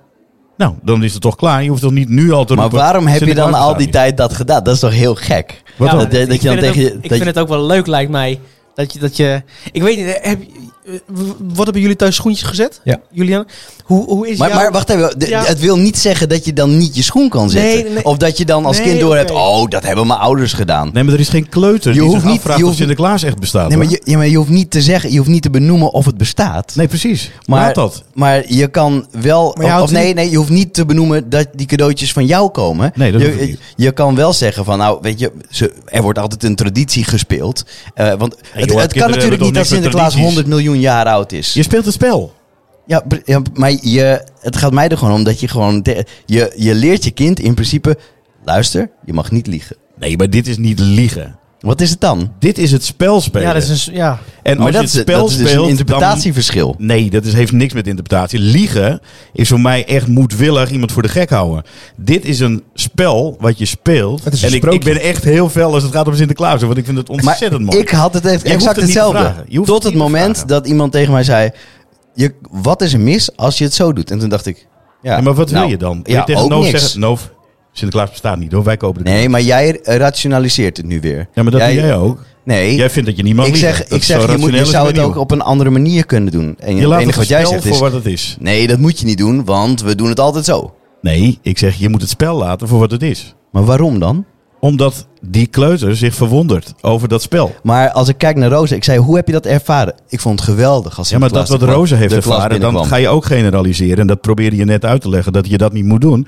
Speaker 3: Nou, dan is het toch klaar. Je hoeft toch niet nu al te
Speaker 1: Maar
Speaker 3: roepen,
Speaker 1: waarom heb je
Speaker 3: Sinterklaas
Speaker 1: dan al
Speaker 3: bestaat
Speaker 1: die
Speaker 3: niet.
Speaker 1: tijd dat gedaan? Dat is toch heel gek?
Speaker 3: Wat
Speaker 2: Ja,
Speaker 3: dan?
Speaker 1: Dat- dat
Speaker 2: ik
Speaker 1: je dan
Speaker 2: vind het
Speaker 1: tegen
Speaker 2: ook-
Speaker 1: je-
Speaker 2: Ik
Speaker 1: dat
Speaker 2: vind
Speaker 1: je-
Speaker 2: het ook wel leuk, lijkt mij. Dat je, dat je ik weet niet, heb, eh, worden bij jullie thuis schoentjes gezet?
Speaker 5: Ja.
Speaker 2: Julian, hoe, hoe is
Speaker 1: Maar,
Speaker 2: jouw-
Speaker 1: maar wacht even, de-
Speaker 2: Ja.
Speaker 1: het wil niet zeggen dat je dan niet je schoen kan
Speaker 2: Nee,
Speaker 1: zetten.
Speaker 2: nee.
Speaker 1: Of dat je dan als
Speaker 2: Nee,
Speaker 1: kind doorhebt,
Speaker 2: oké.
Speaker 1: oh, dat hebben mijn ouders gedaan.
Speaker 3: Nee, maar er is geen kleuter
Speaker 1: Je
Speaker 3: die
Speaker 1: hoeft
Speaker 3: zich
Speaker 1: niet-
Speaker 3: afvraagt
Speaker 1: je
Speaker 3: of
Speaker 1: hoeft-
Speaker 3: Sinterklaas echt bestaat.
Speaker 1: Nee, maar
Speaker 3: hoor.
Speaker 1: je, ja, maar je hoeft niet te zeggen, je hoeft niet te benoemen of het bestaat.
Speaker 3: nee precies.
Speaker 1: Maar,
Speaker 3: Laat dat.
Speaker 1: maar je kan wel.
Speaker 2: Maar je
Speaker 1: of
Speaker 2: houdt
Speaker 1: nee,
Speaker 2: niet-
Speaker 1: nee, je hoeft niet te benoemen dat die cadeautjes van jou komen.
Speaker 3: Nee, dat hoeft
Speaker 1: je,
Speaker 3: niet.
Speaker 1: je kan wel zeggen van, nou, weet je, ze, er wordt altijd een traditie gespeeld. Eh, want het,
Speaker 3: kinderen
Speaker 1: het kan
Speaker 3: hebben
Speaker 1: natuurlijk
Speaker 3: toch
Speaker 1: niet dat
Speaker 3: niks met
Speaker 1: Sinterklaas
Speaker 3: tradities?
Speaker 1: 100 miljoen jaar oud is.
Speaker 3: Je speelt het spel.
Speaker 1: Ja, pr- ja, maar je, het gaat mij er gewoon om dat je gewoon. te- je, je leert je kind in principe. Luister, je mag niet liegen.
Speaker 3: Nee, maar dit is niet liegen.
Speaker 1: Wat is het dan?
Speaker 3: Dit is het spel spelen.
Speaker 2: Ja, dat is een, s- ja.
Speaker 3: En als
Speaker 1: maar dat,
Speaker 3: je het
Speaker 1: is-
Speaker 3: spel
Speaker 1: dat is dus
Speaker 3: speelt,
Speaker 1: een
Speaker 3: dan-
Speaker 1: interpretatieverschil.
Speaker 3: Nee, dat is, heeft niks met interpretatie. Liegen is voor mij echt moedwillig iemand voor de gek houden. Dit is een spel wat je speelt.
Speaker 5: Het is een
Speaker 3: en ik, ik
Speaker 5: sprookje.
Speaker 3: ben echt heel fel als het gaat om Sinterklaas. hoor, Want ik vind het
Speaker 1: Maar
Speaker 3: ontzettend mooi.
Speaker 1: ik had het echt
Speaker 3: hoeft
Speaker 1: exact
Speaker 3: het niet te
Speaker 1: hetzelfde.
Speaker 3: vragen. Je hoeft
Speaker 1: Tot
Speaker 3: het
Speaker 1: het
Speaker 3: niet te
Speaker 1: moment
Speaker 3: vragen.
Speaker 1: dat iemand tegen mij zei: je, Wat is er mis als je het zo doet? En toen dacht ik. Ja,
Speaker 3: Ja, maar wat wil
Speaker 1: nou,
Speaker 3: je dan? Wil
Speaker 1: Ja,
Speaker 3: je tegen
Speaker 1: ook
Speaker 3: Noof
Speaker 1: niks.
Speaker 3: zeggen, Noof, Sinterklaas bestaat niet hoor. Wij kopen de
Speaker 1: Nee, maar jij eh, rationaliseert het nu weer.
Speaker 3: Ja, maar dat
Speaker 1: jij,
Speaker 3: doe jij ook.
Speaker 1: Nee,
Speaker 3: Jij vindt dat je niet mag
Speaker 1: ik
Speaker 3: liegen.
Speaker 1: zeg,
Speaker 3: Dat
Speaker 1: ik
Speaker 3: is zo
Speaker 1: zeg je, moet,
Speaker 3: rationeel
Speaker 1: je
Speaker 3: als
Speaker 1: zou
Speaker 3: ik
Speaker 1: het
Speaker 3: ben
Speaker 1: ook
Speaker 3: nieuw.
Speaker 1: op een andere manier kunnen doen. En
Speaker 3: Je laat
Speaker 1: het enige
Speaker 3: het
Speaker 1: wat jij
Speaker 3: spel
Speaker 1: zegt
Speaker 3: voor
Speaker 1: is:
Speaker 3: wat het is.
Speaker 1: Nee, dat moet je niet doen, want we doen het altijd zo.
Speaker 3: Nee, ik zeg je moet het spel laten voor wat het is.
Speaker 1: Maar waarom dan?
Speaker 3: Omdat die kleuter zich verwondert over dat spel.
Speaker 1: Maar als ik kijk naar Roze, ik zei, hoe heb je dat ervaren? Ik vond het geweldig als
Speaker 3: Ja, maar dat
Speaker 1: Sinterklaas
Speaker 3: wat
Speaker 1: de klas-
Speaker 3: Roze heeft
Speaker 1: de klas
Speaker 3: ervaren, dan
Speaker 1: binnenkwam.
Speaker 3: ga je ook generaliseren. En dat probeerde je net uit te leggen, dat je dat niet moet doen.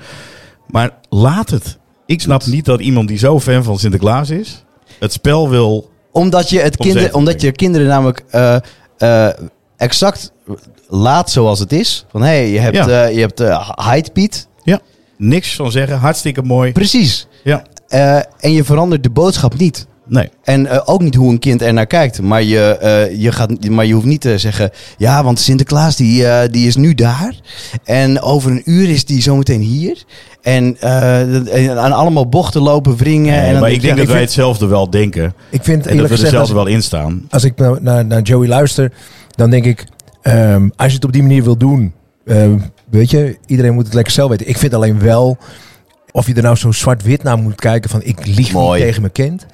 Speaker 3: Maar laat het. Ik snap niet dat iemand die zo fan van Sinterklaas is, het spel wil...
Speaker 1: Omdat je, het
Speaker 3: Om zeven
Speaker 1: kinderen,
Speaker 3: te
Speaker 1: omdat je kinderen namelijk eh, eh, exact laat zoals het is. Van, hé, hey, je hebt,
Speaker 3: Ja.
Speaker 1: eh, je hebt eh, Hyde Piet.
Speaker 3: Ja, niks van zeggen, hartstikke mooi.
Speaker 1: Precies.
Speaker 3: Ja,
Speaker 1: Eh, en je verandert de boodschap niet.
Speaker 3: nee.
Speaker 1: En eh, ook niet hoe een kind er naar kijkt. Maar je, eh, je gaat, maar je hoeft niet te zeggen. Ja, want Sinterklaas die, eh, die is nu daar. En over een uur is die zometeen hier. En, eh, dat- en aan allemaal bochten lopen wringen. en
Speaker 3: Nee,
Speaker 1: dan
Speaker 3: maar ik denk
Speaker 1: je,
Speaker 3: dat wij hetzelfde wel denken.
Speaker 5: Ik vind
Speaker 3: En dat
Speaker 5: eerlijk
Speaker 3: we er
Speaker 5: gezegd... als-
Speaker 3: zelf wel in staan.
Speaker 5: als ik nou naar, naar Joey luister, dan denk ik, ehm, als je het op die manier wil doen, ehm, weet je, iedereen moet het lekker zelf weten. Ik vind alleen wel, of je er nou zo zwart-wit naar moet kijken van ik lieg
Speaker 1: Mooi.
Speaker 5: niet tegen mijn kind.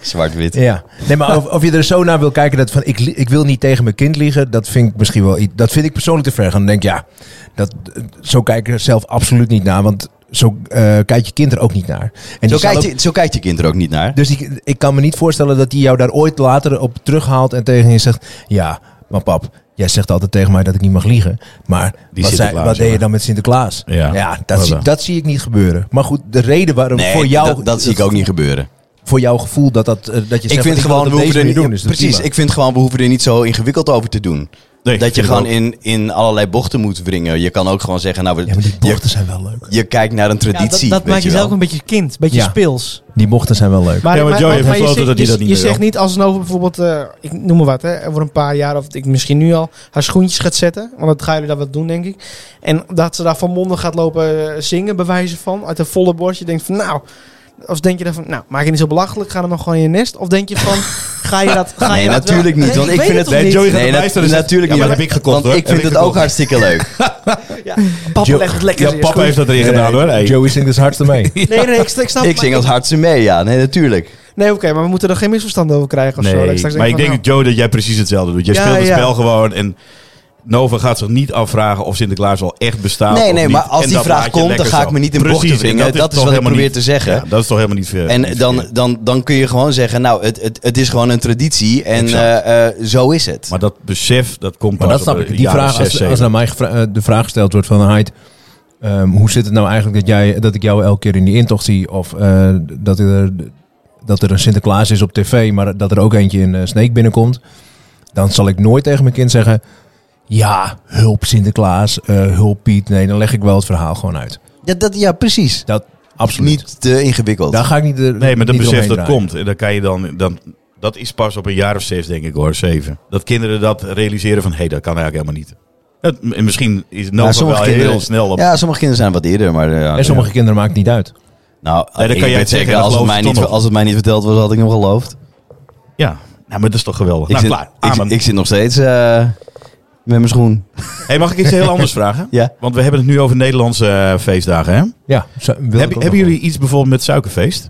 Speaker 1: Zwart-wit.
Speaker 5: Ja. Nee, maar of, of je er zo naar wil kijken dat van ik, li- ik wil niet tegen mijn kind liegen, dat vind ik misschien wel, i- dat vind ik persoonlijk te ver gaan. Dan denk ik, ja, dat, eh, zo kijk ik er zelf absoluut niet naar, want zo eh, kijkt je kind er ook niet naar. En
Speaker 1: Zo
Speaker 5: die zal
Speaker 1: kijkt,
Speaker 5: ook-
Speaker 1: je, zo kijkt je kind er ook niet naar.
Speaker 5: dus ik, ik kan me niet voorstellen dat hij jou daar ooit later op terughaalt en tegen je zegt: Ja, maar pap, jij zegt altijd tegen mij dat ik niet mag liegen. Maar
Speaker 3: Die
Speaker 5: wat, zei,
Speaker 3: Sinterklaas,
Speaker 5: wat deed je
Speaker 3: jongen.
Speaker 5: dan met Sinterklaas?
Speaker 3: Ja.
Speaker 5: dat,
Speaker 3: Wat
Speaker 5: zie,
Speaker 3: dan?
Speaker 5: dat zie ik niet gebeuren. Maar goed, de reden waarom
Speaker 1: Nee,
Speaker 5: voor jou.
Speaker 1: dat, dat zie ik ook niet gebeuren.
Speaker 5: voor jouw gevoel dat, dat, eh, dat je zegt...
Speaker 1: Ik vind
Speaker 5: wil
Speaker 1: gewoon,
Speaker 5: het
Speaker 1: we
Speaker 5: op deze
Speaker 1: hoeven er niet,
Speaker 5: manier doen. is dat
Speaker 1: precies,
Speaker 5: prima.
Speaker 1: ik vind gewoon, we hoeven er niet zo ingewikkeld over te doen.
Speaker 3: Nee,
Speaker 1: dat je
Speaker 3: vind
Speaker 1: gewoon
Speaker 3: ik
Speaker 1: in, in allerlei bochten moet wringen. Je kan ook gewoon zeggen, nou, we,
Speaker 5: Ja, maar die
Speaker 1: je,
Speaker 5: bochten zijn wel leuk.
Speaker 1: je kijkt naar een
Speaker 2: Ja, dat
Speaker 1: traditie.
Speaker 2: dat
Speaker 1: weet
Speaker 2: maakt
Speaker 1: je wel.
Speaker 2: jezelf ook een beetje kind, een beetje
Speaker 5: Ja.
Speaker 2: speels.
Speaker 5: Die bochten zijn wel leuk.
Speaker 3: Ja, maar Joey heeft
Speaker 2: je
Speaker 3: besloten
Speaker 2: zegt-
Speaker 3: dat hij
Speaker 2: je-
Speaker 3: dat niet
Speaker 2: Je
Speaker 3: meer
Speaker 2: zegt
Speaker 3: wil.
Speaker 2: niet als een over bijvoorbeeld, eh, ik noem maar wat, hè, over een paar jaar of ik misschien nu al haar schoentjes gaat zetten. Want dat gaan jullie dat wat doen, denk ik. En dat ze daar van monden gaat lopen eh, zingen, bewijzen van, uit een volle borst. Je denkt van, nou, of denk je dan van, nou, maak je niet zo belachelijk, ga dan maar gewoon in je nest. Of denk je van, ga je dat... Ga
Speaker 1: Nee,
Speaker 2: je dat
Speaker 1: natuurlijk
Speaker 2: wel-
Speaker 1: niet. Want ik
Speaker 2: weet
Speaker 1: vind het...
Speaker 2: toch
Speaker 3: Nee,
Speaker 2: niet?
Speaker 3: Joey gaat
Speaker 1: Nee,
Speaker 3: erbij
Speaker 1: dat-
Speaker 3: staan en zegt,
Speaker 1: natuurlijk
Speaker 3: ja,
Speaker 1: niet.
Speaker 3: maar dat heb ik gekocht,
Speaker 1: Want
Speaker 3: hoor.
Speaker 1: ik
Speaker 3: Heb
Speaker 1: vind
Speaker 3: ik
Speaker 1: het ook
Speaker 3: gekocht.
Speaker 1: hartstikke leuk.
Speaker 2: Ja, papa legt het lekker
Speaker 3: Ja,
Speaker 2: in je
Speaker 3: papa
Speaker 2: schoen.
Speaker 3: heeft dat erin gedaan hoor. Hey.
Speaker 5: Joey zingt dus hardste mee.
Speaker 2: Nee, nee, ik, ik snap
Speaker 1: Ik zing als hartstikke mee, ja. Nee, natuurlijk.
Speaker 2: Nee, oké, maar we moeten er geen misverstanden over krijgen of zo. Dat
Speaker 3: Nee,
Speaker 2: straks
Speaker 3: maar ik
Speaker 2: van,
Speaker 3: denk,
Speaker 2: nou,
Speaker 3: Joe, dat jij precies hetzelfde doet. Jij
Speaker 2: Ja,
Speaker 3: speelt het
Speaker 2: ja.
Speaker 3: spel gewoon en Nova gaat zich niet afvragen of Sinterklaas al echt bestaat
Speaker 1: Nee,
Speaker 3: of
Speaker 1: nee,
Speaker 3: niet.
Speaker 1: maar als
Speaker 3: En
Speaker 1: die
Speaker 3: dat
Speaker 1: vraag
Speaker 3: laat je
Speaker 1: komt,
Speaker 3: lekker
Speaker 1: dan ga
Speaker 3: zo.
Speaker 1: ik me niet in bochten
Speaker 3: Precies, en
Speaker 1: wringen. Dat is
Speaker 3: toch
Speaker 1: wat ik
Speaker 3: helemaal
Speaker 1: probeer te zeggen.
Speaker 3: Ja, dat is toch helemaal niet ver.
Speaker 1: En
Speaker 3: niet
Speaker 1: dan,
Speaker 3: verkeerd.
Speaker 1: dan, dan kun je gewoon zeggen, nou, het, het, het is gewoon een traditie en
Speaker 3: Exact.
Speaker 1: eh, eh, zo is het.
Speaker 3: Maar dat besef, dat komt
Speaker 5: Maar
Speaker 3: pas
Speaker 5: dat snap
Speaker 3: op de
Speaker 5: ik. Die
Speaker 3: jaren
Speaker 5: vraag,
Speaker 3: zes,
Speaker 5: als, als
Speaker 3: zeven.
Speaker 5: naar mij gevra- eh, de vraag gesteld wordt van... Hyde, ehm, hoe zit het nou eigenlijk dat, jij, dat ik jou elke keer in die intocht zie? Of eh, dat, er, dat er een Sinterklaas is op tv, maar dat er ook eentje in eh, Sneek binnenkomt. Dan zal ik nooit tegen mijn kind zeggen... Ja, hulp Sinterklaas, eh, hulp Piet. Nee, dan leg ik wel het verhaal gewoon uit.
Speaker 1: Ja, dat, ja precies.
Speaker 5: Dat, absoluut.
Speaker 1: Niet te ingewikkeld.
Speaker 5: Daar ga ik niet
Speaker 3: Nee, maar dat besef dat komt. En dan kan je dan, dan... Dat is pas op een jaar of zes, denk ik hoor, zeven. Dat kinderen dat realiseren van... Hé, dat kan eigenlijk helemaal niet. Het, en misschien is
Speaker 1: Maar
Speaker 3: Nova wel heel snel op...
Speaker 1: Ja, sommige kinderen zijn wat eerder, maar... eh, ja,
Speaker 5: En sommige kinderen maakt het niet uit.
Speaker 1: Nou,
Speaker 3: Nee, dat
Speaker 1: ik
Speaker 3: kan jij
Speaker 1: weet
Speaker 3: zeggen,
Speaker 1: zeker,
Speaker 3: dat
Speaker 1: als het,
Speaker 3: geloof
Speaker 1: mij
Speaker 3: ik toch
Speaker 1: niet,
Speaker 3: nog.
Speaker 1: als het mij niet verteld was, had ik hem geloofd.
Speaker 3: Ja. Nou, maar dat is toch geweldig.
Speaker 1: Ik,
Speaker 3: nou,
Speaker 1: zit, ik,
Speaker 3: klaar. Amen.
Speaker 1: zit- ik zit nog steeds eh, met mijn schoen.
Speaker 3: Hey, mag ik iets heel anders vragen?
Speaker 1: Ja.
Speaker 3: Want we hebben het nu over Nederlandse eh, feestdagen, hè?
Speaker 5: Ja, zo- wil ik
Speaker 3: Heb-
Speaker 5: ook nog
Speaker 3: hebben
Speaker 5: wel.
Speaker 3: jullie iets bijvoorbeeld met suikerfeest?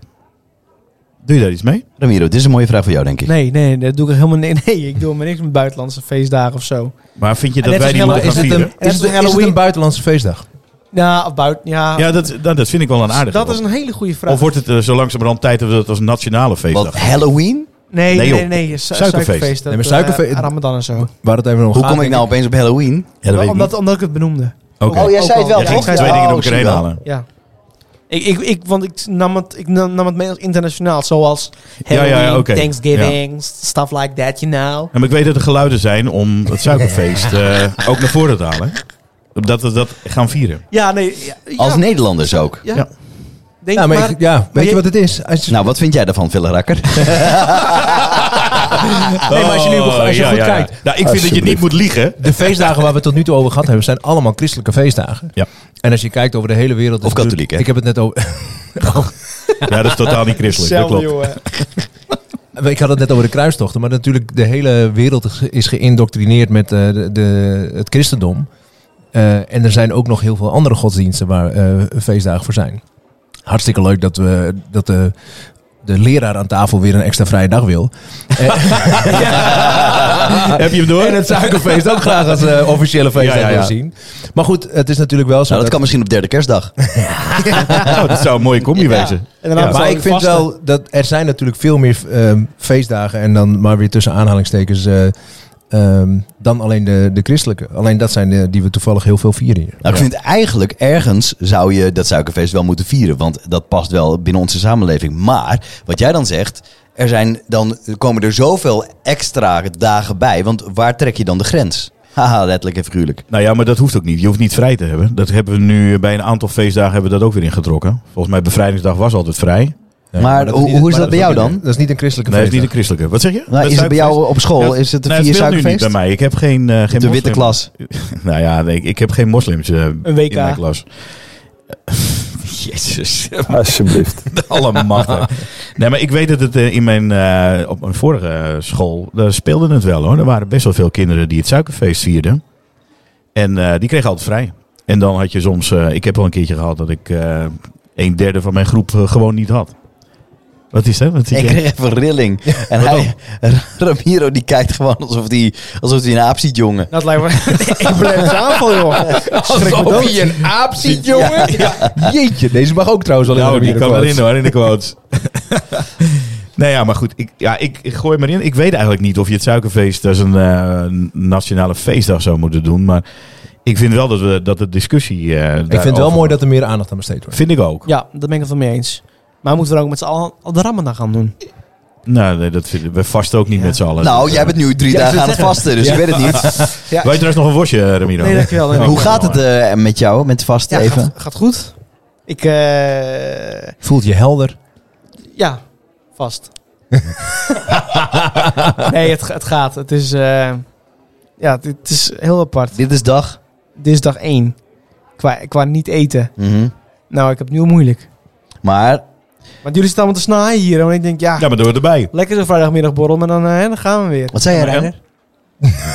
Speaker 3: Doe je daar iets mee?
Speaker 1: Ramiro, dit is een mooie vraag voor jou, denk ik.
Speaker 2: Nee, nee, dat doe ik helemaal niet. Nee, ik doe helemaal niks met buitenlandse feestdagen of zo.
Speaker 3: Maar vind je
Speaker 2: En
Speaker 3: dat
Speaker 2: net als
Speaker 3: wij die
Speaker 2: Hello-
Speaker 3: moeten gaan
Speaker 2: is het
Speaker 3: vieren?
Speaker 2: een- En dat
Speaker 5: Is het,
Speaker 2: is
Speaker 5: is het
Speaker 2: Halloween.
Speaker 5: een buitenlandse feestdag?
Speaker 2: Ja, of buiten, ja.
Speaker 3: Ja, dat, dat, dat vind ik wel een aardige.
Speaker 2: Ah. dat is een hele goede vraag.
Speaker 3: Of wordt het eh, zo langzamerhand tijd dat we het als nationale feestdag
Speaker 1: Wat, Halloween?
Speaker 2: nee,
Speaker 3: Nee,
Speaker 2: nee,
Speaker 3: joh.
Speaker 2: nee, nee, su-
Speaker 3: Suikerfeest.
Speaker 2: suikerfeest. Dat,
Speaker 5: Nee, maar suikerfeest-
Speaker 2: eh, Ramadan en zo.
Speaker 5: Waar het even om
Speaker 1: Hoe
Speaker 5: gaat,
Speaker 1: kom ik
Speaker 5: denk
Speaker 1: nou opeens op Halloween?
Speaker 3: Ja, dat weet ik
Speaker 2: omdat,
Speaker 3: niet.
Speaker 2: omdat ik het benoemde.
Speaker 3: Oké.
Speaker 2: Oh, jij zei het wel,
Speaker 3: Jij ging
Speaker 2: toch?
Speaker 3: twee
Speaker 2: Ja,
Speaker 3: dingen door
Speaker 1: oh,
Speaker 3: elkaar
Speaker 1: zie
Speaker 3: heen
Speaker 1: wel.
Speaker 3: halen.
Speaker 2: Ja. Ik, ik, ik, want ik nam, het, ik nam nam het mee als internationaal. Zoals
Speaker 3: ja,
Speaker 2: Halloween,
Speaker 3: oké.
Speaker 2: Thanksgiving, stuff like that, you know.
Speaker 3: Ja, maar ik weet dat er geluiden zijn om het suikerfeest eh, ook naar voren te halen. Dat we dat gaan vieren.
Speaker 2: Ja, nee. Ja, ja.
Speaker 1: Als Nederlanders ook.
Speaker 2: Ja.
Speaker 3: Ja.
Speaker 2: Denk,
Speaker 5: Ja, Nou, maar,
Speaker 2: maar,
Speaker 5: ik- ja, weet je
Speaker 2: je-
Speaker 5: wat het is? Als je,
Speaker 1: Nou, wat vind jij daarvan, Ville Rakker?
Speaker 5: Nou, nee, maar als je nu beg- als je
Speaker 3: Oh,
Speaker 5: goed kijkt.
Speaker 3: Nou, ik vind dat je niet moet liegen.
Speaker 5: De feestdagen waar we het tot nu toe over gehad hebben, zijn allemaal christelijke feestdagen.
Speaker 3: Ja.
Speaker 5: En als je kijkt over de hele wereld...
Speaker 1: Of katholiek, hè?
Speaker 5: Ik heb het net over...
Speaker 3: Ja, dat is totaal niet christelijk. Dat
Speaker 2: Zelfde,
Speaker 3: klopt.
Speaker 2: jongen.
Speaker 5: Ik had het net over de kruistochten, maar natuurlijk de hele wereld is ge- is geïndoctrineerd met eh, de, de- het christendom. Eh, en er zijn ook nog heel veel andere godsdiensten waar eh, feestdagen voor zijn. Hartstikke leuk dat, we, dat de, de leraar aan tafel weer een extra vrije dag wil.
Speaker 3: Heb je hem door?
Speaker 5: En het suikerfeest ook graag als eh, officiële feestdag
Speaker 3: Ja, ja, ja.
Speaker 5: wil zien. Maar goed, het is natuurlijk wel zo.
Speaker 1: Nou, dat kan misschien op derde kerstdag.
Speaker 3: Nou, dat zou een mooie combi
Speaker 2: Ja.
Speaker 3: wezen.
Speaker 2: En daarna
Speaker 5: Ja,
Speaker 2: zou
Speaker 5: maar ik vind
Speaker 2: vasten.
Speaker 5: wel dat er zijn natuurlijk veel meer ehm, feestdagen en dan maar weer tussen aanhalingstekens eh, ehm, dan alleen de, de christelijke. Alleen dat zijn de, die we toevallig heel veel vieren hier.
Speaker 1: Nou, ik vind eigenlijk ergens zou je dat suikerfeest wel moeten vieren. Want dat past wel binnen onze samenleving. Maar wat jij dan zegt, er zijn dan er komen er zoveel extra dagen bij. Want waar trek je dan de grens? Haha, letterlijk en figuurlijk.
Speaker 3: Nou ja, maar dat hoeft ook niet. Je hoeft niet vrij te hebben. Dat hebben we nu bij een aantal feestdagen hebben we dat ook weer ingetrokken. Volgens mij bevrijdingsdag was altijd vrij.
Speaker 5: Ja,
Speaker 1: maar
Speaker 5: dat
Speaker 1: hoe-
Speaker 5: niet-
Speaker 1: hoe is dat bij
Speaker 5: ook
Speaker 1: jou
Speaker 5: niet-
Speaker 1: dan?
Speaker 5: Dat is niet een christelijke
Speaker 3: Nee, dat is niet
Speaker 5: feestdag.
Speaker 3: een christelijke. Wat zeg je?
Speaker 1: Nou,
Speaker 3: Dat
Speaker 1: is het bij jou
Speaker 3: suikerfeest?
Speaker 1: op school?
Speaker 3: Ja,
Speaker 1: is het een
Speaker 3: nou,
Speaker 1: vier
Speaker 3: speelt nu niet
Speaker 1: suikerfeest?
Speaker 3: bij mij. Ik heb geen, eh, geen
Speaker 1: de witte
Speaker 3: moslim.
Speaker 1: klas.
Speaker 3: Nou ja, nee, ik, ik heb geen moslims eh,
Speaker 2: WK.
Speaker 3: in mijn klas. Jezus.
Speaker 6: Alsjeblieft.
Speaker 3: Alle machten. nee, maar ik weet dat het eh, in mijn, eh, op mijn vorige eh, school, daar speelde het wel hoor. Er waren best wel veel kinderen die het suikerfeest vierden. En eh, die kregen altijd vrij. En dan had je soms, eh, ik heb al een keertje gehad dat ik eh, een derde van mijn groep eh, gewoon niet had. Wat is dat? Wat zie
Speaker 1: Ik
Speaker 3: jij?
Speaker 1: kreeg even rilling. En hij, Ramiro die kijkt gewoon alsof hij die, alsof die een aap ziet, jongen.
Speaker 2: Dat lijkt me een blijf aanval, joh. Schrik me dood.
Speaker 5: een aap ziet, jongen. Jeetje, deze mag ook trouwens wel
Speaker 3: Nou,
Speaker 5: in de
Speaker 3: die kan
Speaker 5: microfoon.
Speaker 3: erin hoor, in de quotes. nee, ja, maar goed. Ik, ja, ik, ik gooi maar in. Ik weet eigenlijk niet of je het suikerfeest als een eh, nationale feestdag zou moeten doen. Maar ik vind wel dat, we, dat de discussie... eh,
Speaker 5: Ik vind het wel
Speaker 3: daarover-
Speaker 5: mooi dat er meer aandacht aan besteed wordt.
Speaker 3: Vind ik ook.
Speaker 2: Ja, dat ben ik het wel mee eens. Maar moeten we er ook met z'n allen al de Ramadan gaan doen?
Speaker 3: Nou, nee, dat vinden we vast ook niet
Speaker 2: Ja.
Speaker 3: met z'n allen.
Speaker 1: Nou, jij bent nu drie
Speaker 2: Ja,
Speaker 1: dagen
Speaker 2: ik wil
Speaker 1: aan het
Speaker 2: zeggen.
Speaker 1: vasten, dus
Speaker 2: Ja.
Speaker 1: ik weet het niet.
Speaker 2: Ja,
Speaker 3: Wil je trouwens nog een worstje, eh, Ramiro? Oh.
Speaker 2: nee, dankjewel. Nee,
Speaker 1: Hoe
Speaker 2: dankjewel.
Speaker 1: gaat het eh, met jou, met vast
Speaker 2: Ja,
Speaker 1: even?
Speaker 2: gaat, gaat goed. Ik, eh,
Speaker 5: Voelt je helder?
Speaker 2: ja, vast. nee, het, het gaat. Het is, eh, ja, het, het is heel apart.
Speaker 1: Dit is dag.
Speaker 2: Dit is dag één. Qua, qua niet eten.
Speaker 1: Mhm.
Speaker 2: Nou, ik heb het nu al moeilijk.
Speaker 1: Maar
Speaker 2: Want jullie staan allemaal te snaaien hier. En ik denk, ja,
Speaker 3: Ja, maar door erbij.
Speaker 2: lekker zo'n vrijdagmiddagborrel. Maar dan, eh, dan gaan we weer.
Speaker 1: wat zei je,
Speaker 3: Maar en?
Speaker 1: Reiner?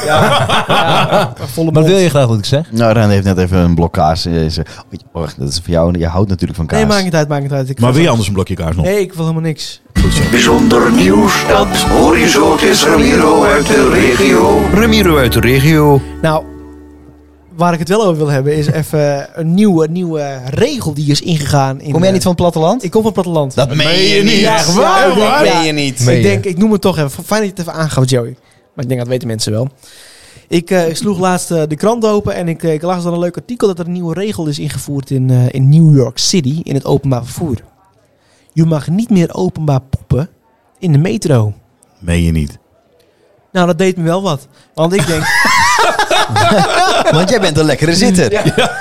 Speaker 2: Ja, volle
Speaker 5: Maar
Speaker 2: mond.
Speaker 5: wil je graag wat ik zeg?
Speaker 1: Nou, Reiner heeft net even een blok kaas. eh, ze- Oei, Wacht, dat is voor jou. Je houdt natuurlijk van kaas.
Speaker 2: Nee, maakt niet uit, maakt niet uit. Ik
Speaker 3: Maar
Speaker 2: ga-
Speaker 3: wil je anders een blokje kaas nog?
Speaker 2: Nee, ik wil helemaal niks.
Speaker 6: Bijzonder nieuws, dat hoor je zo, het is Ramiro uit de regio. Ramiro uit de regio.
Speaker 2: Nou, waar ik het wel over wil hebben is even een nieuwe, nieuwe regel die is ingegaan. In, eh,
Speaker 1: Kom jij niet van het platteland?
Speaker 2: Ik kom van het platteland.
Speaker 1: Dat meen je niet.
Speaker 2: Ja, echt waar?
Speaker 1: Dat
Speaker 2: Ja.
Speaker 1: meen je niet.
Speaker 5: Meen
Speaker 2: ik
Speaker 5: je?
Speaker 2: denk, ik noem het toch even. Fijn dat je het even aangaf, Joey. Maar ik denk dat weten mensen wel. Ik, eh, ik sloeg laatst eh, de krant open en ik, eh, ik las dan een leuk artikel dat er een nieuwe regel is ingevoerd in, eh, in New York City in het openbaar vervoer. Je mag niet meer openbaar poepen in de metro.
Speaker 3: Meen je niet.
Speaker 2: Nou, dat deed me wel wat. Want ik denk,
Speaker 1: Want jij bent een lekkere zitter.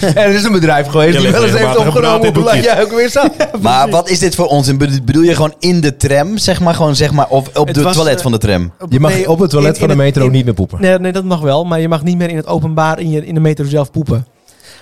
Speaker 5: En er is een bedrijf geweest
Speaker 3: Je ligt regelmatig gepraat in doekjes.
Speaker 5: ook weer staat.
Speaker 1: Maar wat is dit voor onzin? Bedo- Bedoel je gewoon in de tram, zeg maar? Gewoon, zeg maar of op
Speaker 2: Het
Speaker 1: het
Speaker 2: was,
Speaker 1: toilet
Speaker 2: eh,
Speaker 1: van de tram?
Speaker 5: Je mag
Speaker 2: nee,
Speaker 5: op het toilet
Speaker 2: in-
Speaker 5: van de
Speaker 2: in het-
Speaker 5: metro
Speaker 2: in-
Speaker 5: niet meer poepen.
Speaker 2: Nee, nee, dat mag wel. Maar je mag niet meer in het openbaar in, je, in de metro zelf poepen.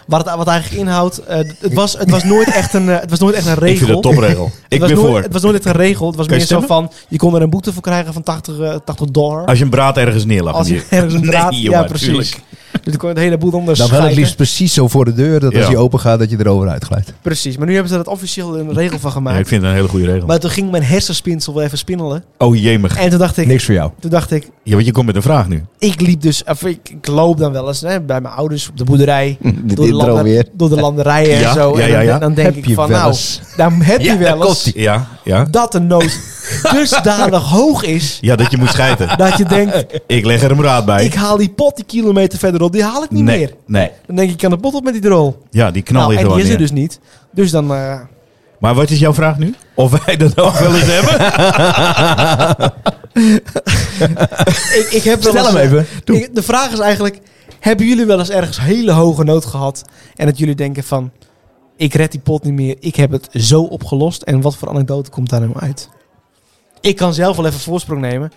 Speaker 2: Wat, het- wat eigenlijk inhoudt, eh, het, was, het, was nooit echt een, eh, het was nooit echt een regel.
Speaker 3: Ik vind dat topregel.
Speaker 2: Het
Speaker 3: ik
Speaker 2: was
Speaker 3: ben
Speaker 2: nooit-
Speaker 3: voor.
Speaker 2: Het was nooit echt een regel. Het was
Speaker 3: Kan
Speaker 2: meer
Speaker 3: je
Speaker 2: zo
Speaker 3: stemmen? Ah,
Speaker 2: van, je kon er een boete voor krijgen van 80, eh, 80 dollar.
Speaker 3: Als je een braad ergens neerlegt.
Speaker 2: Als
Speaker 3: dan
Speaker 2: je ergens een draad...
Speaker 3: Nee,
Speaker 2: ja,
Speaker 3: jongen,
Speaker 2: precies.
Speaker 3: tuurlijk.
Speaker 2: Dus ik kon het hele boel onder
Speaker 3: Nou,
Speaker 5: Dan wel het
Speaker 2: schijten.
Speaker 5: liefst precies zo voor de deur dat als
Speaker 3: Ja.
Speaker 5: die open gaat dat je erover uitglijdt.
Speaker 2: Precies. Maar nu hebben ze er officieel een regel van
Speaker 3: Ja, ik
Speaker 2: gemaakt.
Speaker 3: vind het een hele goede regel.
Speaker 2: maar toen ging mijn hersenspinsel wel even spinnelen.
Speaker 3: Oh jemig.
Speaker 2: En toen dacht ik,
Speaker 5: Niks voor jou.
Speaker 2: toen dacht ik,
Speaker 3: Ja, want je komt met een vraag nu.
Speaker 2: ik liep dus, of ik, ik loop dan wel eens hè, bij mijn ouders op de boerderij.
Speaker 1: Dit
Speaker 2: door, de
Speaker 1: droom
Speaker 2: lander-
Speaker 1: weer.
Speaker 2: door de landerijen
Speaker 3: Ja,
Speaker 2: en zo.
Speaker 3: ja,
Speaker 2: En dan-
Speaker 3: ja, ja.
Speaker 2: Dan, denk
Speaker 5: Heb
Speaker 2: ik
Speaker 5: je
Speaker 2: van,
Speaker 5: wel
Speaker 2: nou,
Speaker 5: eens.
Speaker 2: daar heb je wel eens
Speaker 3: Ja, ja.
Speaker 2: dat de nood dusdanig hoog is,
Speaker 3: Ja, dat je moet scheiden.
Speaker 2: dat je denkt,
Speaker 3: Ik leg er een braad bij.
Speaker 2: ik haal die pot die kilometer verderop, die haal ik niet
Speaker 3: nee,
Speaker 2: meer.
Speaker 3: Nee.
Speaker 2: Dan denk ik, ik kan de pot op met die drol.
Speaker 3: Ja, die knal
Speaker 2: Nou,
Speaker 3: je
Speaker 2: en die
Speaker 3: gewoon
Speaker 2: is er
Speaker 3: neer.
Speaker 2: dus niet. Dus dan, eh,
Speaker 3: Maar wat is jouw vraag nu? Of wij dat ook wel eens hebben?
Speaker 2: ik, ik heb wel
Speaker 5: Stel
Speaker 2: eens,
Speaker 5: hem
Speaker 2: eh,
Speaker 5: even. Doe.
Speaker 2: ik- de vraag is eigenlijk, hebben jullie wel eens ergens hele hoge nood gehad en dat jullie denken van, ik red die pot niet meer, ik heb het zo opgelost en wat voor anekdote komt daar nou uit? Ik kan zelf wel even voorsprong nemen.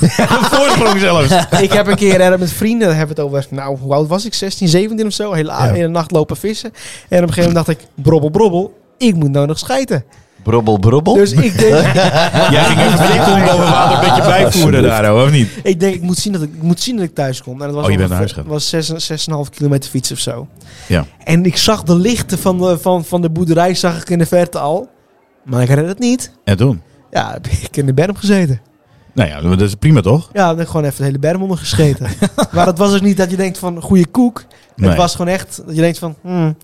Speaker 3: Een voorsprong zelfs.
Speaker 2: ik heb een keer eh, met vrienden, daar hebben we het over, nou, hoe oud was ik? 16, 17 of zo. Hele, a-
Speaker 5: Ja.
Speaker 2: hele nacht lopen vissen. En op een gegeven moment dacht ik, brobbel, brobbel, ik moet nou nog schijten.
Speaker 1: Brobbel, brobbel.
Speaker 2: Dus ik denk,
Speaker 3: Jij ging even flink onder boven water een beetje bijvoeren daar, hoor, of niet?
Speaker 2: ik denk, ik moet zien dat ik, ik moet zien dat ik thuis kom. En dat was
Speaker 3: Oh, je bent
Speaker 2: ongeveer-
Speaker 3: naar huis gegaan.
Speaker 2: was zes- 6,5 kilometer fiets of zo.
Speaker 3: Ja.
Speaker 2: En ik zag de lichten van de, van, van de boerderij, zag ik in de verte al. Maar ik redde het niet.
Speaker 3: En toen?
Speaker 2: Ja, heb ik in de berm gezeten.
Speaker 3: Nou ja, dat is prima toch?
Speaker 2: Ja, dan heb ik gewoon even de hele berm onder gescheten. maar dat was ook niet dat je denkt van, goede koek.
Speaker 3: Nee.
Speaker 2: Het was gewoon echt, dat je denkt van, hmm,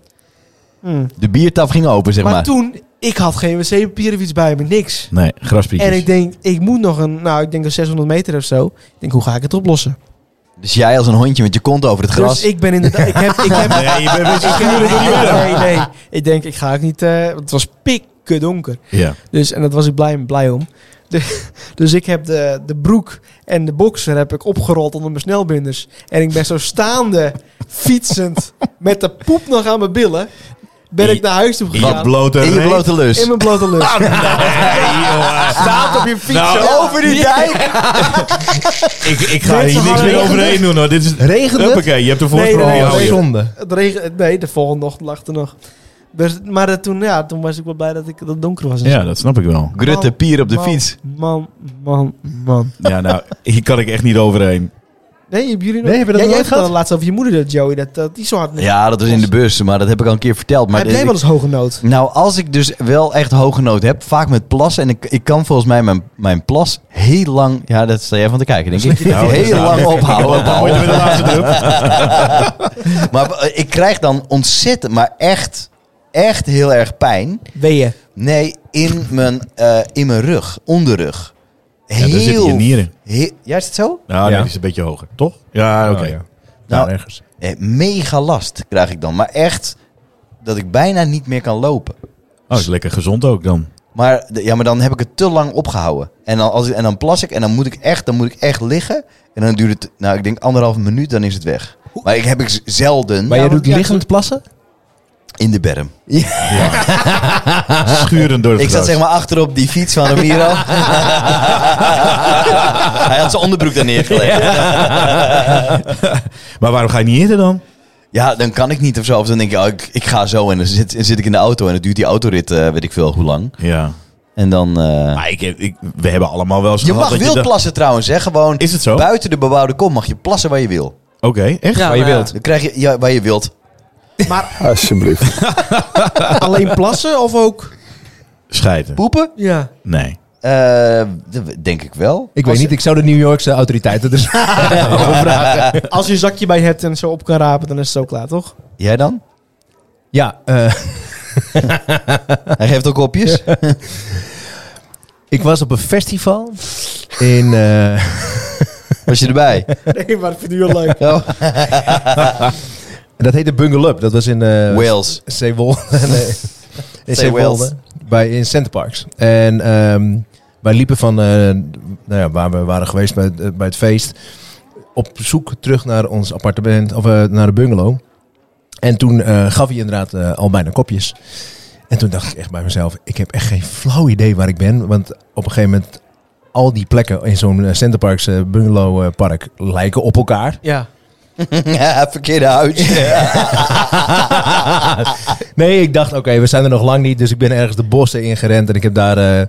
Speaker 2: hmm.
Speaker 1: De biertaf ging open, zeg
Speaker 2: Maar,
Speaker 1: maar.
Speaker 2: toen, ik had geen wc-papier of iets bij me, niks.
Speaker 3: Nee, graspietjes.
Speaker 2: En ik denk, ik moet nog een, nou, ik denk een 600 meter of zo. Ik denk, hoe ga ik het oplossen?
Speaker 1: Dus jij als een hondje met je kont over het gras.
Speaker 2: Dus ik ben inderdaad, ik heb, ik heb,
Speaker 3: Nee, je bent weer zo
Speaker 2: ik heb-
Speaker 3: schuur door die berm.
Speaker 2: nee, nee, ik denk, ik ga ook niet, eh, want het was pikken donker.
Speaker 3: Ja.
Speaker 2: Dus, en dat was ik blij, blij om. De- dus ik heb de, de broek en de boxer heb ik opgerold onder mijn snelbinders. En ik ben zo staande, fietsend, met de poep nog aan mijn billen, ben ik naar huis toe
Speaker 3: In je
Speaker 2: gegaan.
Speaker 3: blote
Speaker 1: in je
Speaker 3: reet.
Speaker 1: blote lus.
Speaker 2: In mijn blote lus.
Speaker 3: Nee, joh.
Speaker 1: Staat Ah, op je fiets
Speaker 3: Nou.
Speaker 1: zo over die dijk.
Speaker 3: Ik, ik ga
Speaker 2: Mensen
Speaker 3: hier niks
Speaker 2: hadden
Speaker 3: meer
Speaker 2: regende-
Speaker 3: overheen doen hoor. Dit is...
Speaker 5: Regende?
Speaker 3: Huppakee, je hebt de voorsprong.
Speaker 2: nee,
Speaker 3: die
Speaker 5: Oh,
Speaker 3: hou je.
Speaker 5: zonde.
Speaker 2: Het regen, nee, de volgende ochtend lag er nog. Dus, maar eh, toen, ja, toen was ik wel blij dat, ik, dat het donker was. en
Speaker 3: Ja,
Speaker 2: zo.
Speaker 3: dat snap ik wel.
Speaker 1: Grutte pier op de
Speaker 2: Man,
Speaker 1: fiets.
Speaker 2: Man, man, man.
Speaker 3: Ja, nou, hier kan ik echt niet overheen.
Speaker 2: Nee, hebben jullie nog...
Speaker 5: Nee, hebben we dat
Speaker 2: Jij-
Speaker 5: nooit
Speaker 2: jij vertelde
Speaker 5: gehad?
Speaker 2: laatst over je moeder, dat Joey, dat, dat die zo hard...
Speaker 1: Ja, dat was in de bus, maar dat heb ik al een keer verteld. Maar
Speaker 2: Heb jij
Speaker 1: ik-
Speaker 2: wel eens hoge nood?
Speaker 1: Nou, als ik dus wel echt hoge nood heb, vaak met plassen. En ik, ik kan volgens mij mijn, mijn plas heel lang... Ja, dat sta jij van te kijken, denk ik.
Speaker 3: Nou, dat
Speaker 1: heel
Speaker 3: staat
Speaker 1: lang
Speaker 3: lekker.
Speaker 1: ophouden.
Speaker 3: Dan moet je met de laatste drup.
Speaker 1: Maar eh, ik krijg dan ontzettend, maar echt, echt heel erg pijn.
Speaker 2: Ben je?
Speaker 1: Nee, in mijn, eh, in mijn rug, onderrug.
Speaker 3: Ja, daar zitten je nieren.
Speaker 1: he- ja, is het zo?
Speaker 3: Nou,
Speaker 5: Ja.
Speaker 3: dat is een beetje hoger, toch? Ja, oké.
Speaker 5: Oh, ja.
Speaker 1: Nou,
Speaker 5: Nou, ergens.
Speaker 1: Eh, mega last krijg ik dan. Maar echt dat ik bijna niet meer kan lopen.
Speaker 3: Oh, is lekker gezond ook dan.
Speaker 1: Maar, de- ja, maar dan heb ik het te lang opgehouden. En dan, als, ik- en dan plas ik en dan moet ik echt, dan moet ik echt liggen. En dan duurt het, nou ik denk anderhalve minuut, dan is het weg. Maar ik heb ik z- zelden
Speaker 5: Maar jij
Speaker 2: want-
Speaker 5: doet
Speaker 2: Nou, ja,
Speaker 5: liggend plassen?
Speaker 1: in de berm.
Speaker 3: Schurend door het
Speaker 1: Ik zat
Speaker 3: gras.
Speaker 1: zeg maar achter op die fiets van Ramiro. Hij had zijn onderbroek daar neergelegd. Ja.
Speaker 3: Maar waarom ga je niet eerder dan?
Speaker 1: dan kan ik niet of zo. Of dan denk je, oh, ik, ik ga zo en dan zit, zit ik in de auto. En dan duurt die autorit, eh, weet ik veel, hoe lang.
Speaker 3: Ja.
Speaker 1: En dan... eh,
Speaker 3: Maar Nou, ik, ik, we hebben allemaal wel eens
Speaker 1: je Oh.
Speaker 3: gehad
Speaker 1: mag
Speaker 3: dat
Speaker 1: wild
Speaker 3: da-
Speaker 1: plassen trouwens, hè. Gewoon
Speaker 3: Is het zo? Oké,
Speaker 1: buiten de bebouwde kom mag je plassen waar je wil.
Speaker 2: Ja,
Speaker 3: echt? Waar je
Speaker 2: maar ja.
Speaker 3: wilt.
Speaker 1: Dan krijg je, ja, waar je wilt.
Speaker 6: Alsjeblieft.
Speaker 2: Alleen plassen of ook?
Speaker 3: Scheiden.
Speaker 1: Poepen?
Speaker 2: Ja.
Speaker 3: Nee.
Speaker 1: Eh, d- denk ik wel.
Speaker 5: Ik weet niet, ik zou de New Yorkse autoriteiten dus
Speaker 2: Als je een zakje bij hebt en zo op kan rapen, dan is het zo klaar, toch?
Speaker 1: Jij dan?
Speaker 5: Ja, eh,
Speaker 1: Hij geeft ook kopjes.
Speaker 5: ik was op een festival in... eh,
Speaker 1: Was je erbij?
Speaker 2: Nee, maar ik vind het heel leuk.
Speaker 1: Oh,
Speaker 5: dat heette Bungle Up, dat was in... eh,
Speaker 1: Wales.
Speaker 5: Zeewolde. nee. In
Speaker 1: Zeewolde.
Speaker 5: Zeewolde. Bij, in Centerparks. En ehm, wij liepen van eh, nou ja, waar we waren geweest bij, het- bij het feest. Op zoek terug naar ons appartement. Of eh, naar de bungalow. En toen eh, gaf hij inderdaad eh, al bijna kopjes. En toen dacht ik echt bij mezelf. Ik heb echt geen flauw idee waar ik ben. Want op een gegeven moment. Al die plekken in zo'n eh, Centerparks eh, bungalowpark lijken op elkaar.
Speaker 2: Ja.
Speaker 1: Ja, verkeerde huis.
Speaker 5: nee, ik dacht, oké, we zijn er nog lang niet. Dus ik ben ergens de bossen ingerend. En ik heb daar... eh,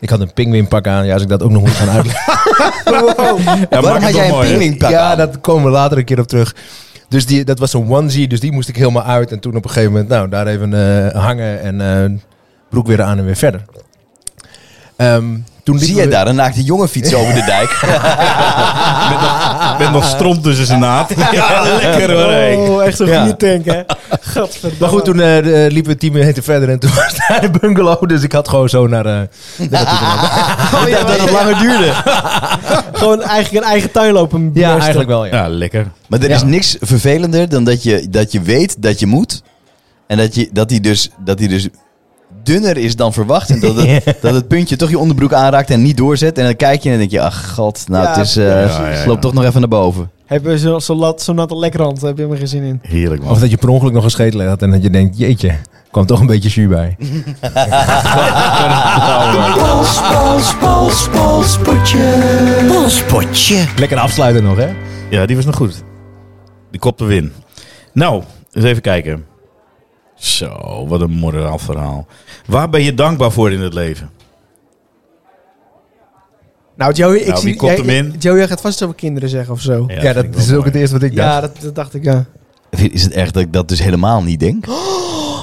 Speaker 5: ik had een pinguïnpak aan. Ja, als ik dat ook nog moet gaan uitleggen.
Speaker 3: maak
Speaker 1: Waarom
Speaker 3: het
Speaker 1: had
Speaker 3: toch
Speaker 1: jij een
Speaker 3: mooi, hè?
Speaker 1: pingwingpak
Speaker 5: ja,
Speaker 1: aan?
Speaker 5: dat komen we later een keer op terug. Dus die, dat was een onesie. Dus die moest ik helemaal uit. En toen op een gegeven moment, nou, daar even eh, hangen. En eh, broek weer aan en weer verder. Ehm, toen liepen
Speaker 1: Zie je
Speaker 5: we-
Speaker 1: daar een naakte jongen fietsen over de dijk?
Speaker 3: Met nog, met nog stront tussen zijn naad. Ja, lekker hoor. hé.
Speaker 2: Oh, echt zo'n
Speaker 5: Ja.
Speaker 2: goede tank, hè? Gadverdamme.
Speaker 5: Maar goed, toen eh, de- liepen we tien minuten verder. En toen was daar de bungalow. Dus ik had gewoon zo naar... eh, naar naartoe gelopen.
Speaker 2: Oh, ja, maar-
Speaker 1: langer duurde.
Speaker 2: Gewoon eigenlijk een eigen tuin lopen.
Speaker 5: ja,
Speaker 2: besten.
Speaker 5: eigenlijk wel, ja.
Speaker 3: Ja, lekker.
Speaker 1: Maar er
Speaker 5: Ja.
Speaker 1: is niks vervelender dan dat je, dat je weet dat je moet. En dat, je, dat, die dus, dat die dus dunner is dan verwacht. En dat het, dat het puntje toch je onderbroek aanraakt en niet doorzet. En dan kijk je en dan denk je, ach god, nou
Speaker 2: Ja,
Speaker 1: het is, eh,
Speaker 2: precies.
Speaker 3: Ja, ja, ja.
Speaker 1: loop toch nog even naar boven.
Speaker 2: Heb je zo'n zo lat- zo'n natte lekkerhand? Daar heb je helemaal geen zin in.
Speaker 3: Heerlijk man.
Speaker 5: Of dat je per ongeluk nog een scheet had en dat je denkt, jeetje, kwam toch een beetje jus bij.
Speaker 6: Pols, pols, pols, polspotje. Polspotje.
Speaker 5: Lekker afsluiten nog, hè?
Speaker 3: Ja, die was nog goed. Die kopte win. Nou, eens even kijken. Zo, wat een moraal verhaal. Waar ben je dankbaar voor in het leven?
Speaker 2: Nou, Joey, ik
Speaker 3: Nou,
Speaker 2: zie...
Speaker 3: wie komt
Speaker 2: jij-
Speaker 3: hem in?
Speaker 2: Joey, jij gaat vast over kinderen zeggen of zo. Ja,
Speaker 5: Ja, dat is ook het eerste wat ik dacht.
Speaker 2: dat, dat dacht ik, ja.
Speaker 1: Is het echt dat ik dat dus helemaal niet denk?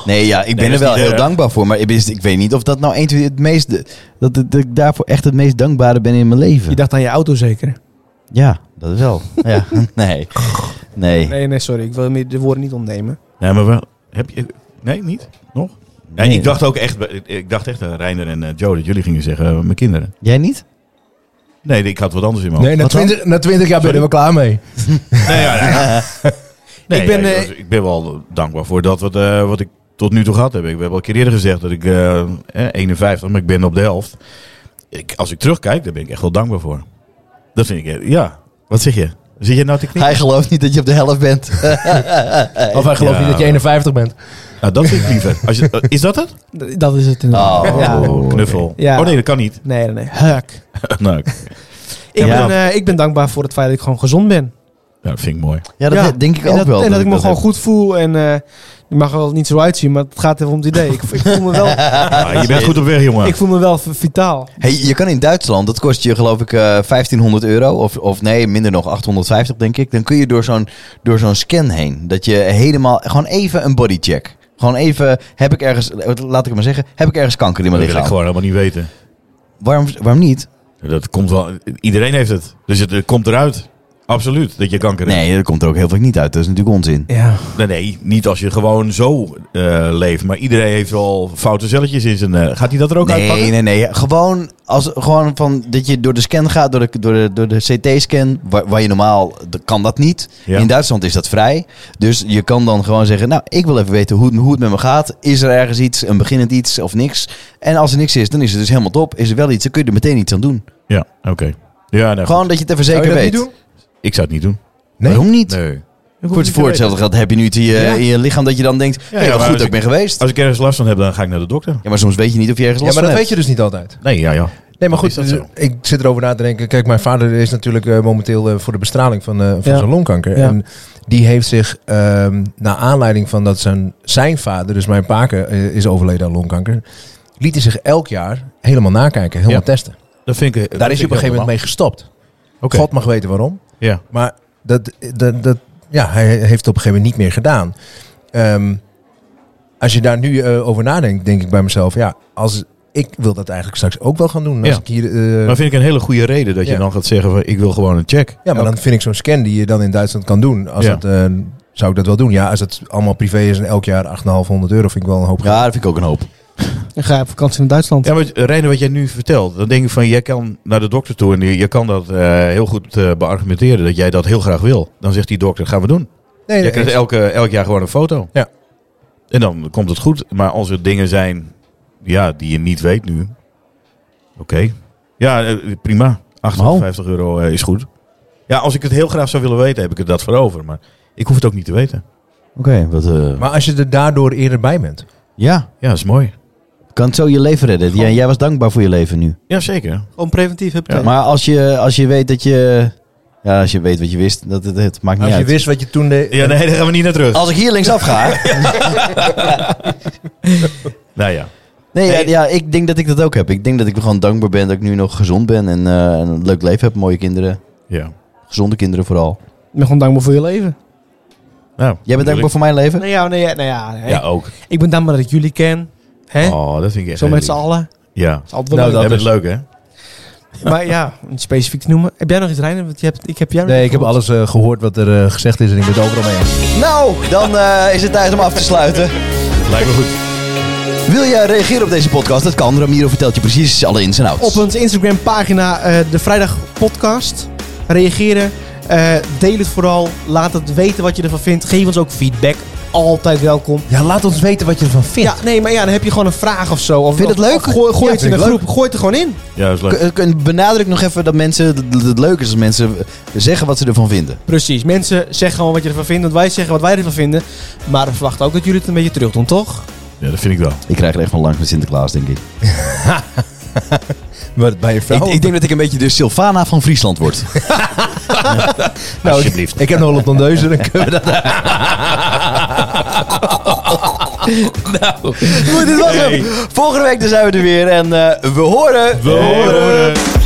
Speaker 1: Nee, ja, ik ben
Speaker 3: dat
Speaker 1: er
Speaker 3: is
Speaker 1: wel
Speaker 3: niet
Speaker 1: heel
Speaker 3: erg.
Speaker 1: dankbaar voor. Maar ik, is- ik weet niet of dat nou eentje het meest... Dat, dat ik daarvoor echt het meest dankbare ben in mijn leven.
Speaker 2: Je dacht aan je auto zeker?
Speaker 1: Ja, dat is wel. Ja, nee. Nee.
Speaker 2: Nee, nee, sorry. Ik wil meer de woorden niet ontnemen.
Speaker 3: Nee, maar wel. Heb je. Nee, niet? Nog? Ja,
Speaker 1: Nee.
Speaker 3: ik dacht ook echt. Ik dacht echt, eh, Reiner en eh, Joe, dat jullie gingen zeggen: eh, mijn kinderen.
Speaker 1: Jij niet?
Speaker 3: Nee, ik had wat anders in mijn
Speaker 5: Nee,
Speaker 3: hoofd.
Speaker 5: na
Speaker 1: Wat dan?
Speaker 5: 20, na 20 jaar ben ik er wel klaar mee.
Speaker 3: Nee, ja, ja, ja. Nee,
Speaker 2: Ik ben,
Speaker 3: ja, ik,
Speaker 2: eh,
Speaker 3: was- ik ben wel dankbaar voor dat wat, eh, wat ik tot nu toe gehad heb. Ik heb al een keer eerder gezegd dat ik eh, eh, 51, maar ik ben op de helft. Ik, als ik terugkijk, daar ben ik echt wel dankbaar voor. Dat vind ik, eh, ja. Wat zeg je? Zit je nou te knikken?
Speaker 1: Hij gelooft niet dat je op de helft bent.
Speaker 5: Of hij gelooft
Speaker 3: Ja.
Speaker 5: niet dat je 51 bent.
Speaker 3: Nou, dat vind ik liever. Als je, eh, is dat het?
Speaker 2: D- dat is het inderdaad.
Speaker 1: Oh.
Speaker 2: Ja.
Speaker 3: Oh, knuffel.
Speaker 2: Ah. Ja.
Speaker 3: Oh nee, dat kan niet.
Speaker 2: Nee, nee, nee. Huk.
Speaker 3: nou, ik-
Speaker 2: Ik,
Speaker 1: Ja.
Speaker 2: ben, eh, ik ben dankbaar voor het feit dat ik gewoon gezond ben.
Speaker 3: nou, dat vind ik mooi.
Speaker 1: Ja, dat
Speaker 2: Ja.
Speaker 1: denk ik
Speaker 2: en
Speaker 1: ook
Speaker 2: dat,
Speaker 1: wel.
Speaker 2: En dat, ik me
Speaker 1: dat
Speaker 2: gewoon
Speaker 1: heb.
Speaker 2: goed voel. En eh je mag er wel niet zo uitzien, maar het gaat even om het idee. Ik, ik, voel, me wel,
Speaker 3: Ah, je bent goed op weg, jongen.
Speaker 2: ik voel me wel v- vitaal.
Speaker 1: Hey, je kan in Duitsland, dat kost je geloof ik eh, 1500 euro. Of, of nee, minder nog, 850 denk ik. Dan kun je door zo'n, door zo'n scan heen. Dat je helemaal, gewoon even een bodycheck. Gewoon even, heb ik ergens, laat ik het maar zeggen, heb ik ergens kanker in
Speaker 3: dat
Speaker 1: mijn
Speaker 3: wil ik
Speaker 1: lichaam?
Speaker 3: gewoon helemaal niet weten.
Speaker 1: Waarom, waarom niet?
Speaker 3: Dat komt wel. Iedereen heeft het. Dus het, eh, komt eruit. Absoluut, dat je kanker hebt.
Speaker 1: Nee, dat komt er ook heel vaak niet uit. Dat is natuurlijk onzin.
Speaker 2: Ja.
Speaker 3: Nee, nee, niet als je gewoon zo eh, leeft. Maar iedereen heeft wel foute celletjes in zijn... eh, gaat hij dat er ook uitpakken?
Speaker 1: Nee, nee, nee. Gewoon, als, gewoon van dat je door de scan gaat, door de, door de, door de CT-scan, waar, waar je normaal, dat kan dat niet.
Speaker 3: Ja.
Speaker 1: In Duitsland is dat vrij. Dus je kan dan gewoon zeggen, nou, ik wil even weten hoe, hoe het met me gaat. Is er ergens iets, een beginnend iets of niks? En als er niks is, dan is het dus helemaal top. Is er wel iets, dan kun je er meteen iets aan doen.
Speaker 3: Ja, oké. Ja, nou,
Speaker 1: gewoon dat je het even zeker
Speaker 5: Zou je dat
Speaker 1: weet.
Speaker 5: niet doen?
Speaker 3: goed. ik zou het niet doen.
Speaker 5: Nee?
Speaker 1: Waarom niet?
Speaker 3: Nee.
Speaker 1: Voor, het- voor hetzelfde geld heb je nu iets in je,
Speaker 3: Ja.
Speaker 1: in je lichaam dat je dan denkt,
Speaker 3: Ja,
Speaker 1: hey,
Speaker 3: ja,
Speaker 1: wat
Speaker 3: maar
Speaker 1: goed
Speaker 3: als
Speaker 1: dat ik ben geweest.
Speaker 3: Als ik ergens last van heb, dan ga ik naar de dokter.
Speaker 1: Ja, maar soms weet je niet of je ergens
Speaker 5: Ja,
Speaker 1: last
Speaker 5: maar dat
Speaker 1: van
Speaker 5: weet
Speaker 1: hebt.
Speaker 5: je dus niet altijd.
Speaker 3: Nee, ja, ja.
Speaker 5: Nee, maar
Speaker 3: Is
Speaker 5: goed, eh,
Speaker 3: dat zo?
Speaker 5: ik zit erover na te denken. Kijk, mijn vader is natuurlijk eh, momenteel eh, voor de bestraling van, eh, van
Speaker 2: Ja.
Speaker 5: zijn longkanker.
Speaker 2: Ja.
Speaker 5: En die heeft zich, ehm naar aanleiding van dat zijn, zijn vader, dus mijn paken, is overleden aan longkanker, liet hij zich elk jaar helemaal nakijken, helemaal
Speaker 3: Ja.
Speaker 5: testen.
Speaker 3: Dat vind ik,
Speaker 5: Daar is hij op een gegeven moment mee gestopt.
Speaker 3: Oké.
Speaker 5: God mag weten waarom.
Speaker 3: Ja.
Speaker 5: Maar dat, dat, dat, ja, hij heeft het op een gegeven moment niet meer gedaan. Ehm, als je daar nu eh, over nadenkt, denk ik bij mezelf, ja, als ik wil dat eigenlijk straks ook wel gaan doen. Als
Speaker 3: Ja.
Speaker 5: ik hier, eh,
Speaker 3: Maar vind ik een hele goede reden dat je
Speaker 5: Ja.
Speaker 3: dan gaat zeggen van ik wil gewoon een check.
Speaker 5: Ja, maar dan vind ik zo'n scan die je dan in Duitsland kan doen. Als
Speaker 3: Ja.
Speaker 5: dat, eh, zou ik dat wel doen? Ja, als het allemaal privé is en elk jaar 8,500 euro vind ik wel een hoop geld.
Speaker 1: Ja, dat vind ik ook een hoop.
Speaker 2: Dan ga je op vakantie naar Duitsland.
Speaker 3: Ja, maar Reiner, wat jij nu vertelt, dan denk ik van jij kan naar de dokter toe en je je kan dat eh, heel goed eh, beargumenteren dat jij dat heel graag wil. Dan zegt die dokter, gaan we doen.
Speaker 5: Nee,
Speaker 3: Jij
Speaker 5: nee,
Speaker 3: krijgt
Speaker 5: eens.
Speaker 3: elke, elk jaar gewoon een foto.
Speaker 5: Ja.
Speaker 3: En dan komt het goed. Maar als er dingen zijn ja, die je niet weet nu. Oké. Ja, eh, prima. 58 euro eh, is goed. Ja, als ik het heel graag zou willen weten, heb ik er dat voor over. Maar ik hoef het ook niet te weten.
Speaker 1: Oké, wat...
Speaker 5: maar als je er daardoor eerder bij bent.
Speaker 1: ja,
Speaker 3: Ja, dat is mooi.
Speaker 1: kan het zo je leven redden. Jij, jij was dankbaar voor je leven nu.
Speaker 3: Ja, zeker.
Speaker 2: Gewoon preventief heb je
Speaker 3: Ja.
Speaker 1: Maar als je, als je weet dat je... Ja, als je weet wat je wist, dat, het het maakt niet
Speaker 5: Als je
Speaker 1: uit.
Speaker 5: wist wat je toen deed.
Speaker 3: Ja, nee, daar gaan we niet naar terug.
Speaker 1: Als ik hier linksaf ga...
Speaker 3: Nou ja.
Speaker 1: nee, ja, ja, ik denk dat ik dat ook heb. Ik denk dat ik gewoon dankbaar ben dat ik nu nog gezond ben. En eh, een leuk leven heb. Mooie kinderen.
Speaker 3: ja.
Speaker 1: Gezonde kinderen vooral.
Speaker 2: Ik ben gewoon dankbaar voor je leven.
Speaker 3: Nou,
Speaker 1: Jij bent dankbaar voor mijn leven?
Speaker 2: Nee, ja, nee, ja, nee, ja, nee.
Speaker 3: Ja, ook.
Speaker 2: Ik ben dankbaar dat ik jullie ken. Hè?
Speaker 3: Oh, dat vind ik echt
Speaker 2: Zo
Speaker 3: heel
Speaker 2: met z'n
Speaker 3: lief.
Speaker 2: allen.
Speaker 3: Ja.
Speaker 2: is altijd wel
Speaker 5: Nou,
Speaker 3: Dat
Speaker 2: leuk.
Speaker 3: is leuk, hè?
Speaker 2: Maar ja, om het specifiek te noemen. Heb jij nog iets, Reiner? Want je hebt, ik heb jou nog
Speaker 5: Nee, ik
Speaker 2: niet
Speaker 5: heb
Speaker 2: gehoord.
Speaker 5: alles eh, gehoord wat er eh, gezegd is en ik ben het overal mee eens.
Speaker 1: Nou, dan eh, is het tijd om af te sluiten.
Speaker 3: Lijkt me goed.
Speaker 1: Wil jij reageren op deze podcast? Dat kan. Ramiro vertelt je precies alle ins en outs.
Speaker 2: Op onze Instagram pagina eh, de Vrijdag Podcast. Reageren. eh, deel het vooral. Laat het weten wat je ervan vindt. Geef ons ook feedback. Altijd welkom.
Speaker 5: Ja, laat ons weten wat je ervan vindt.
Speaker 2: Ja, nee, maar ja, dan heb je gewoon een vraag of zo. Of,
Speaker 1: Vind je het
Speaker 2: of-
Speaker 1: leuk?
Speaker 2: of gooi gooi
Speaker 1: Ja,
Speaker 2: het
Speaker 1: vind
Speaker 2: in
Speaker 1: ik
Speaker 2: een groep. Gooi het er gewoon in.
Speaker 3: Ja, dat is leuk.
Speaker 1: K- eh, k- Benadruk nog even dat mensen... Dat dat het leuk is als mensen zeggen wat ze ervan vinden.
Speaker 2: Precies. Mensen zeggen gewoon wat je ervan vindt. Want wij zeggen wat wij ervan vinden. Maar we verwachten ook dat jullie het een beetje terug doen, toch?
Speaker 3: Ja, dat vind ik wel.
Speaker 1: Ik krijg er echt van langs met Sinterklaas, denk ik.
Speaker 5: Maar bij je
Speaker 1: Ik,
Speaker 5: vrouw.
Speaker 1: ik denk dat ik een beetje de Sylvana van Friesland word.
Speaker 5: nou,
Speaker 3: alsjeblieft.
Speaker 5: Ik, ik heb nog wat ondeuzen. Dan kunnen we dat.
Speaker 1: Goed, dit was hem. Volgende week dan zijn we er weer en eh, we horen...
Speaker 3: We horen.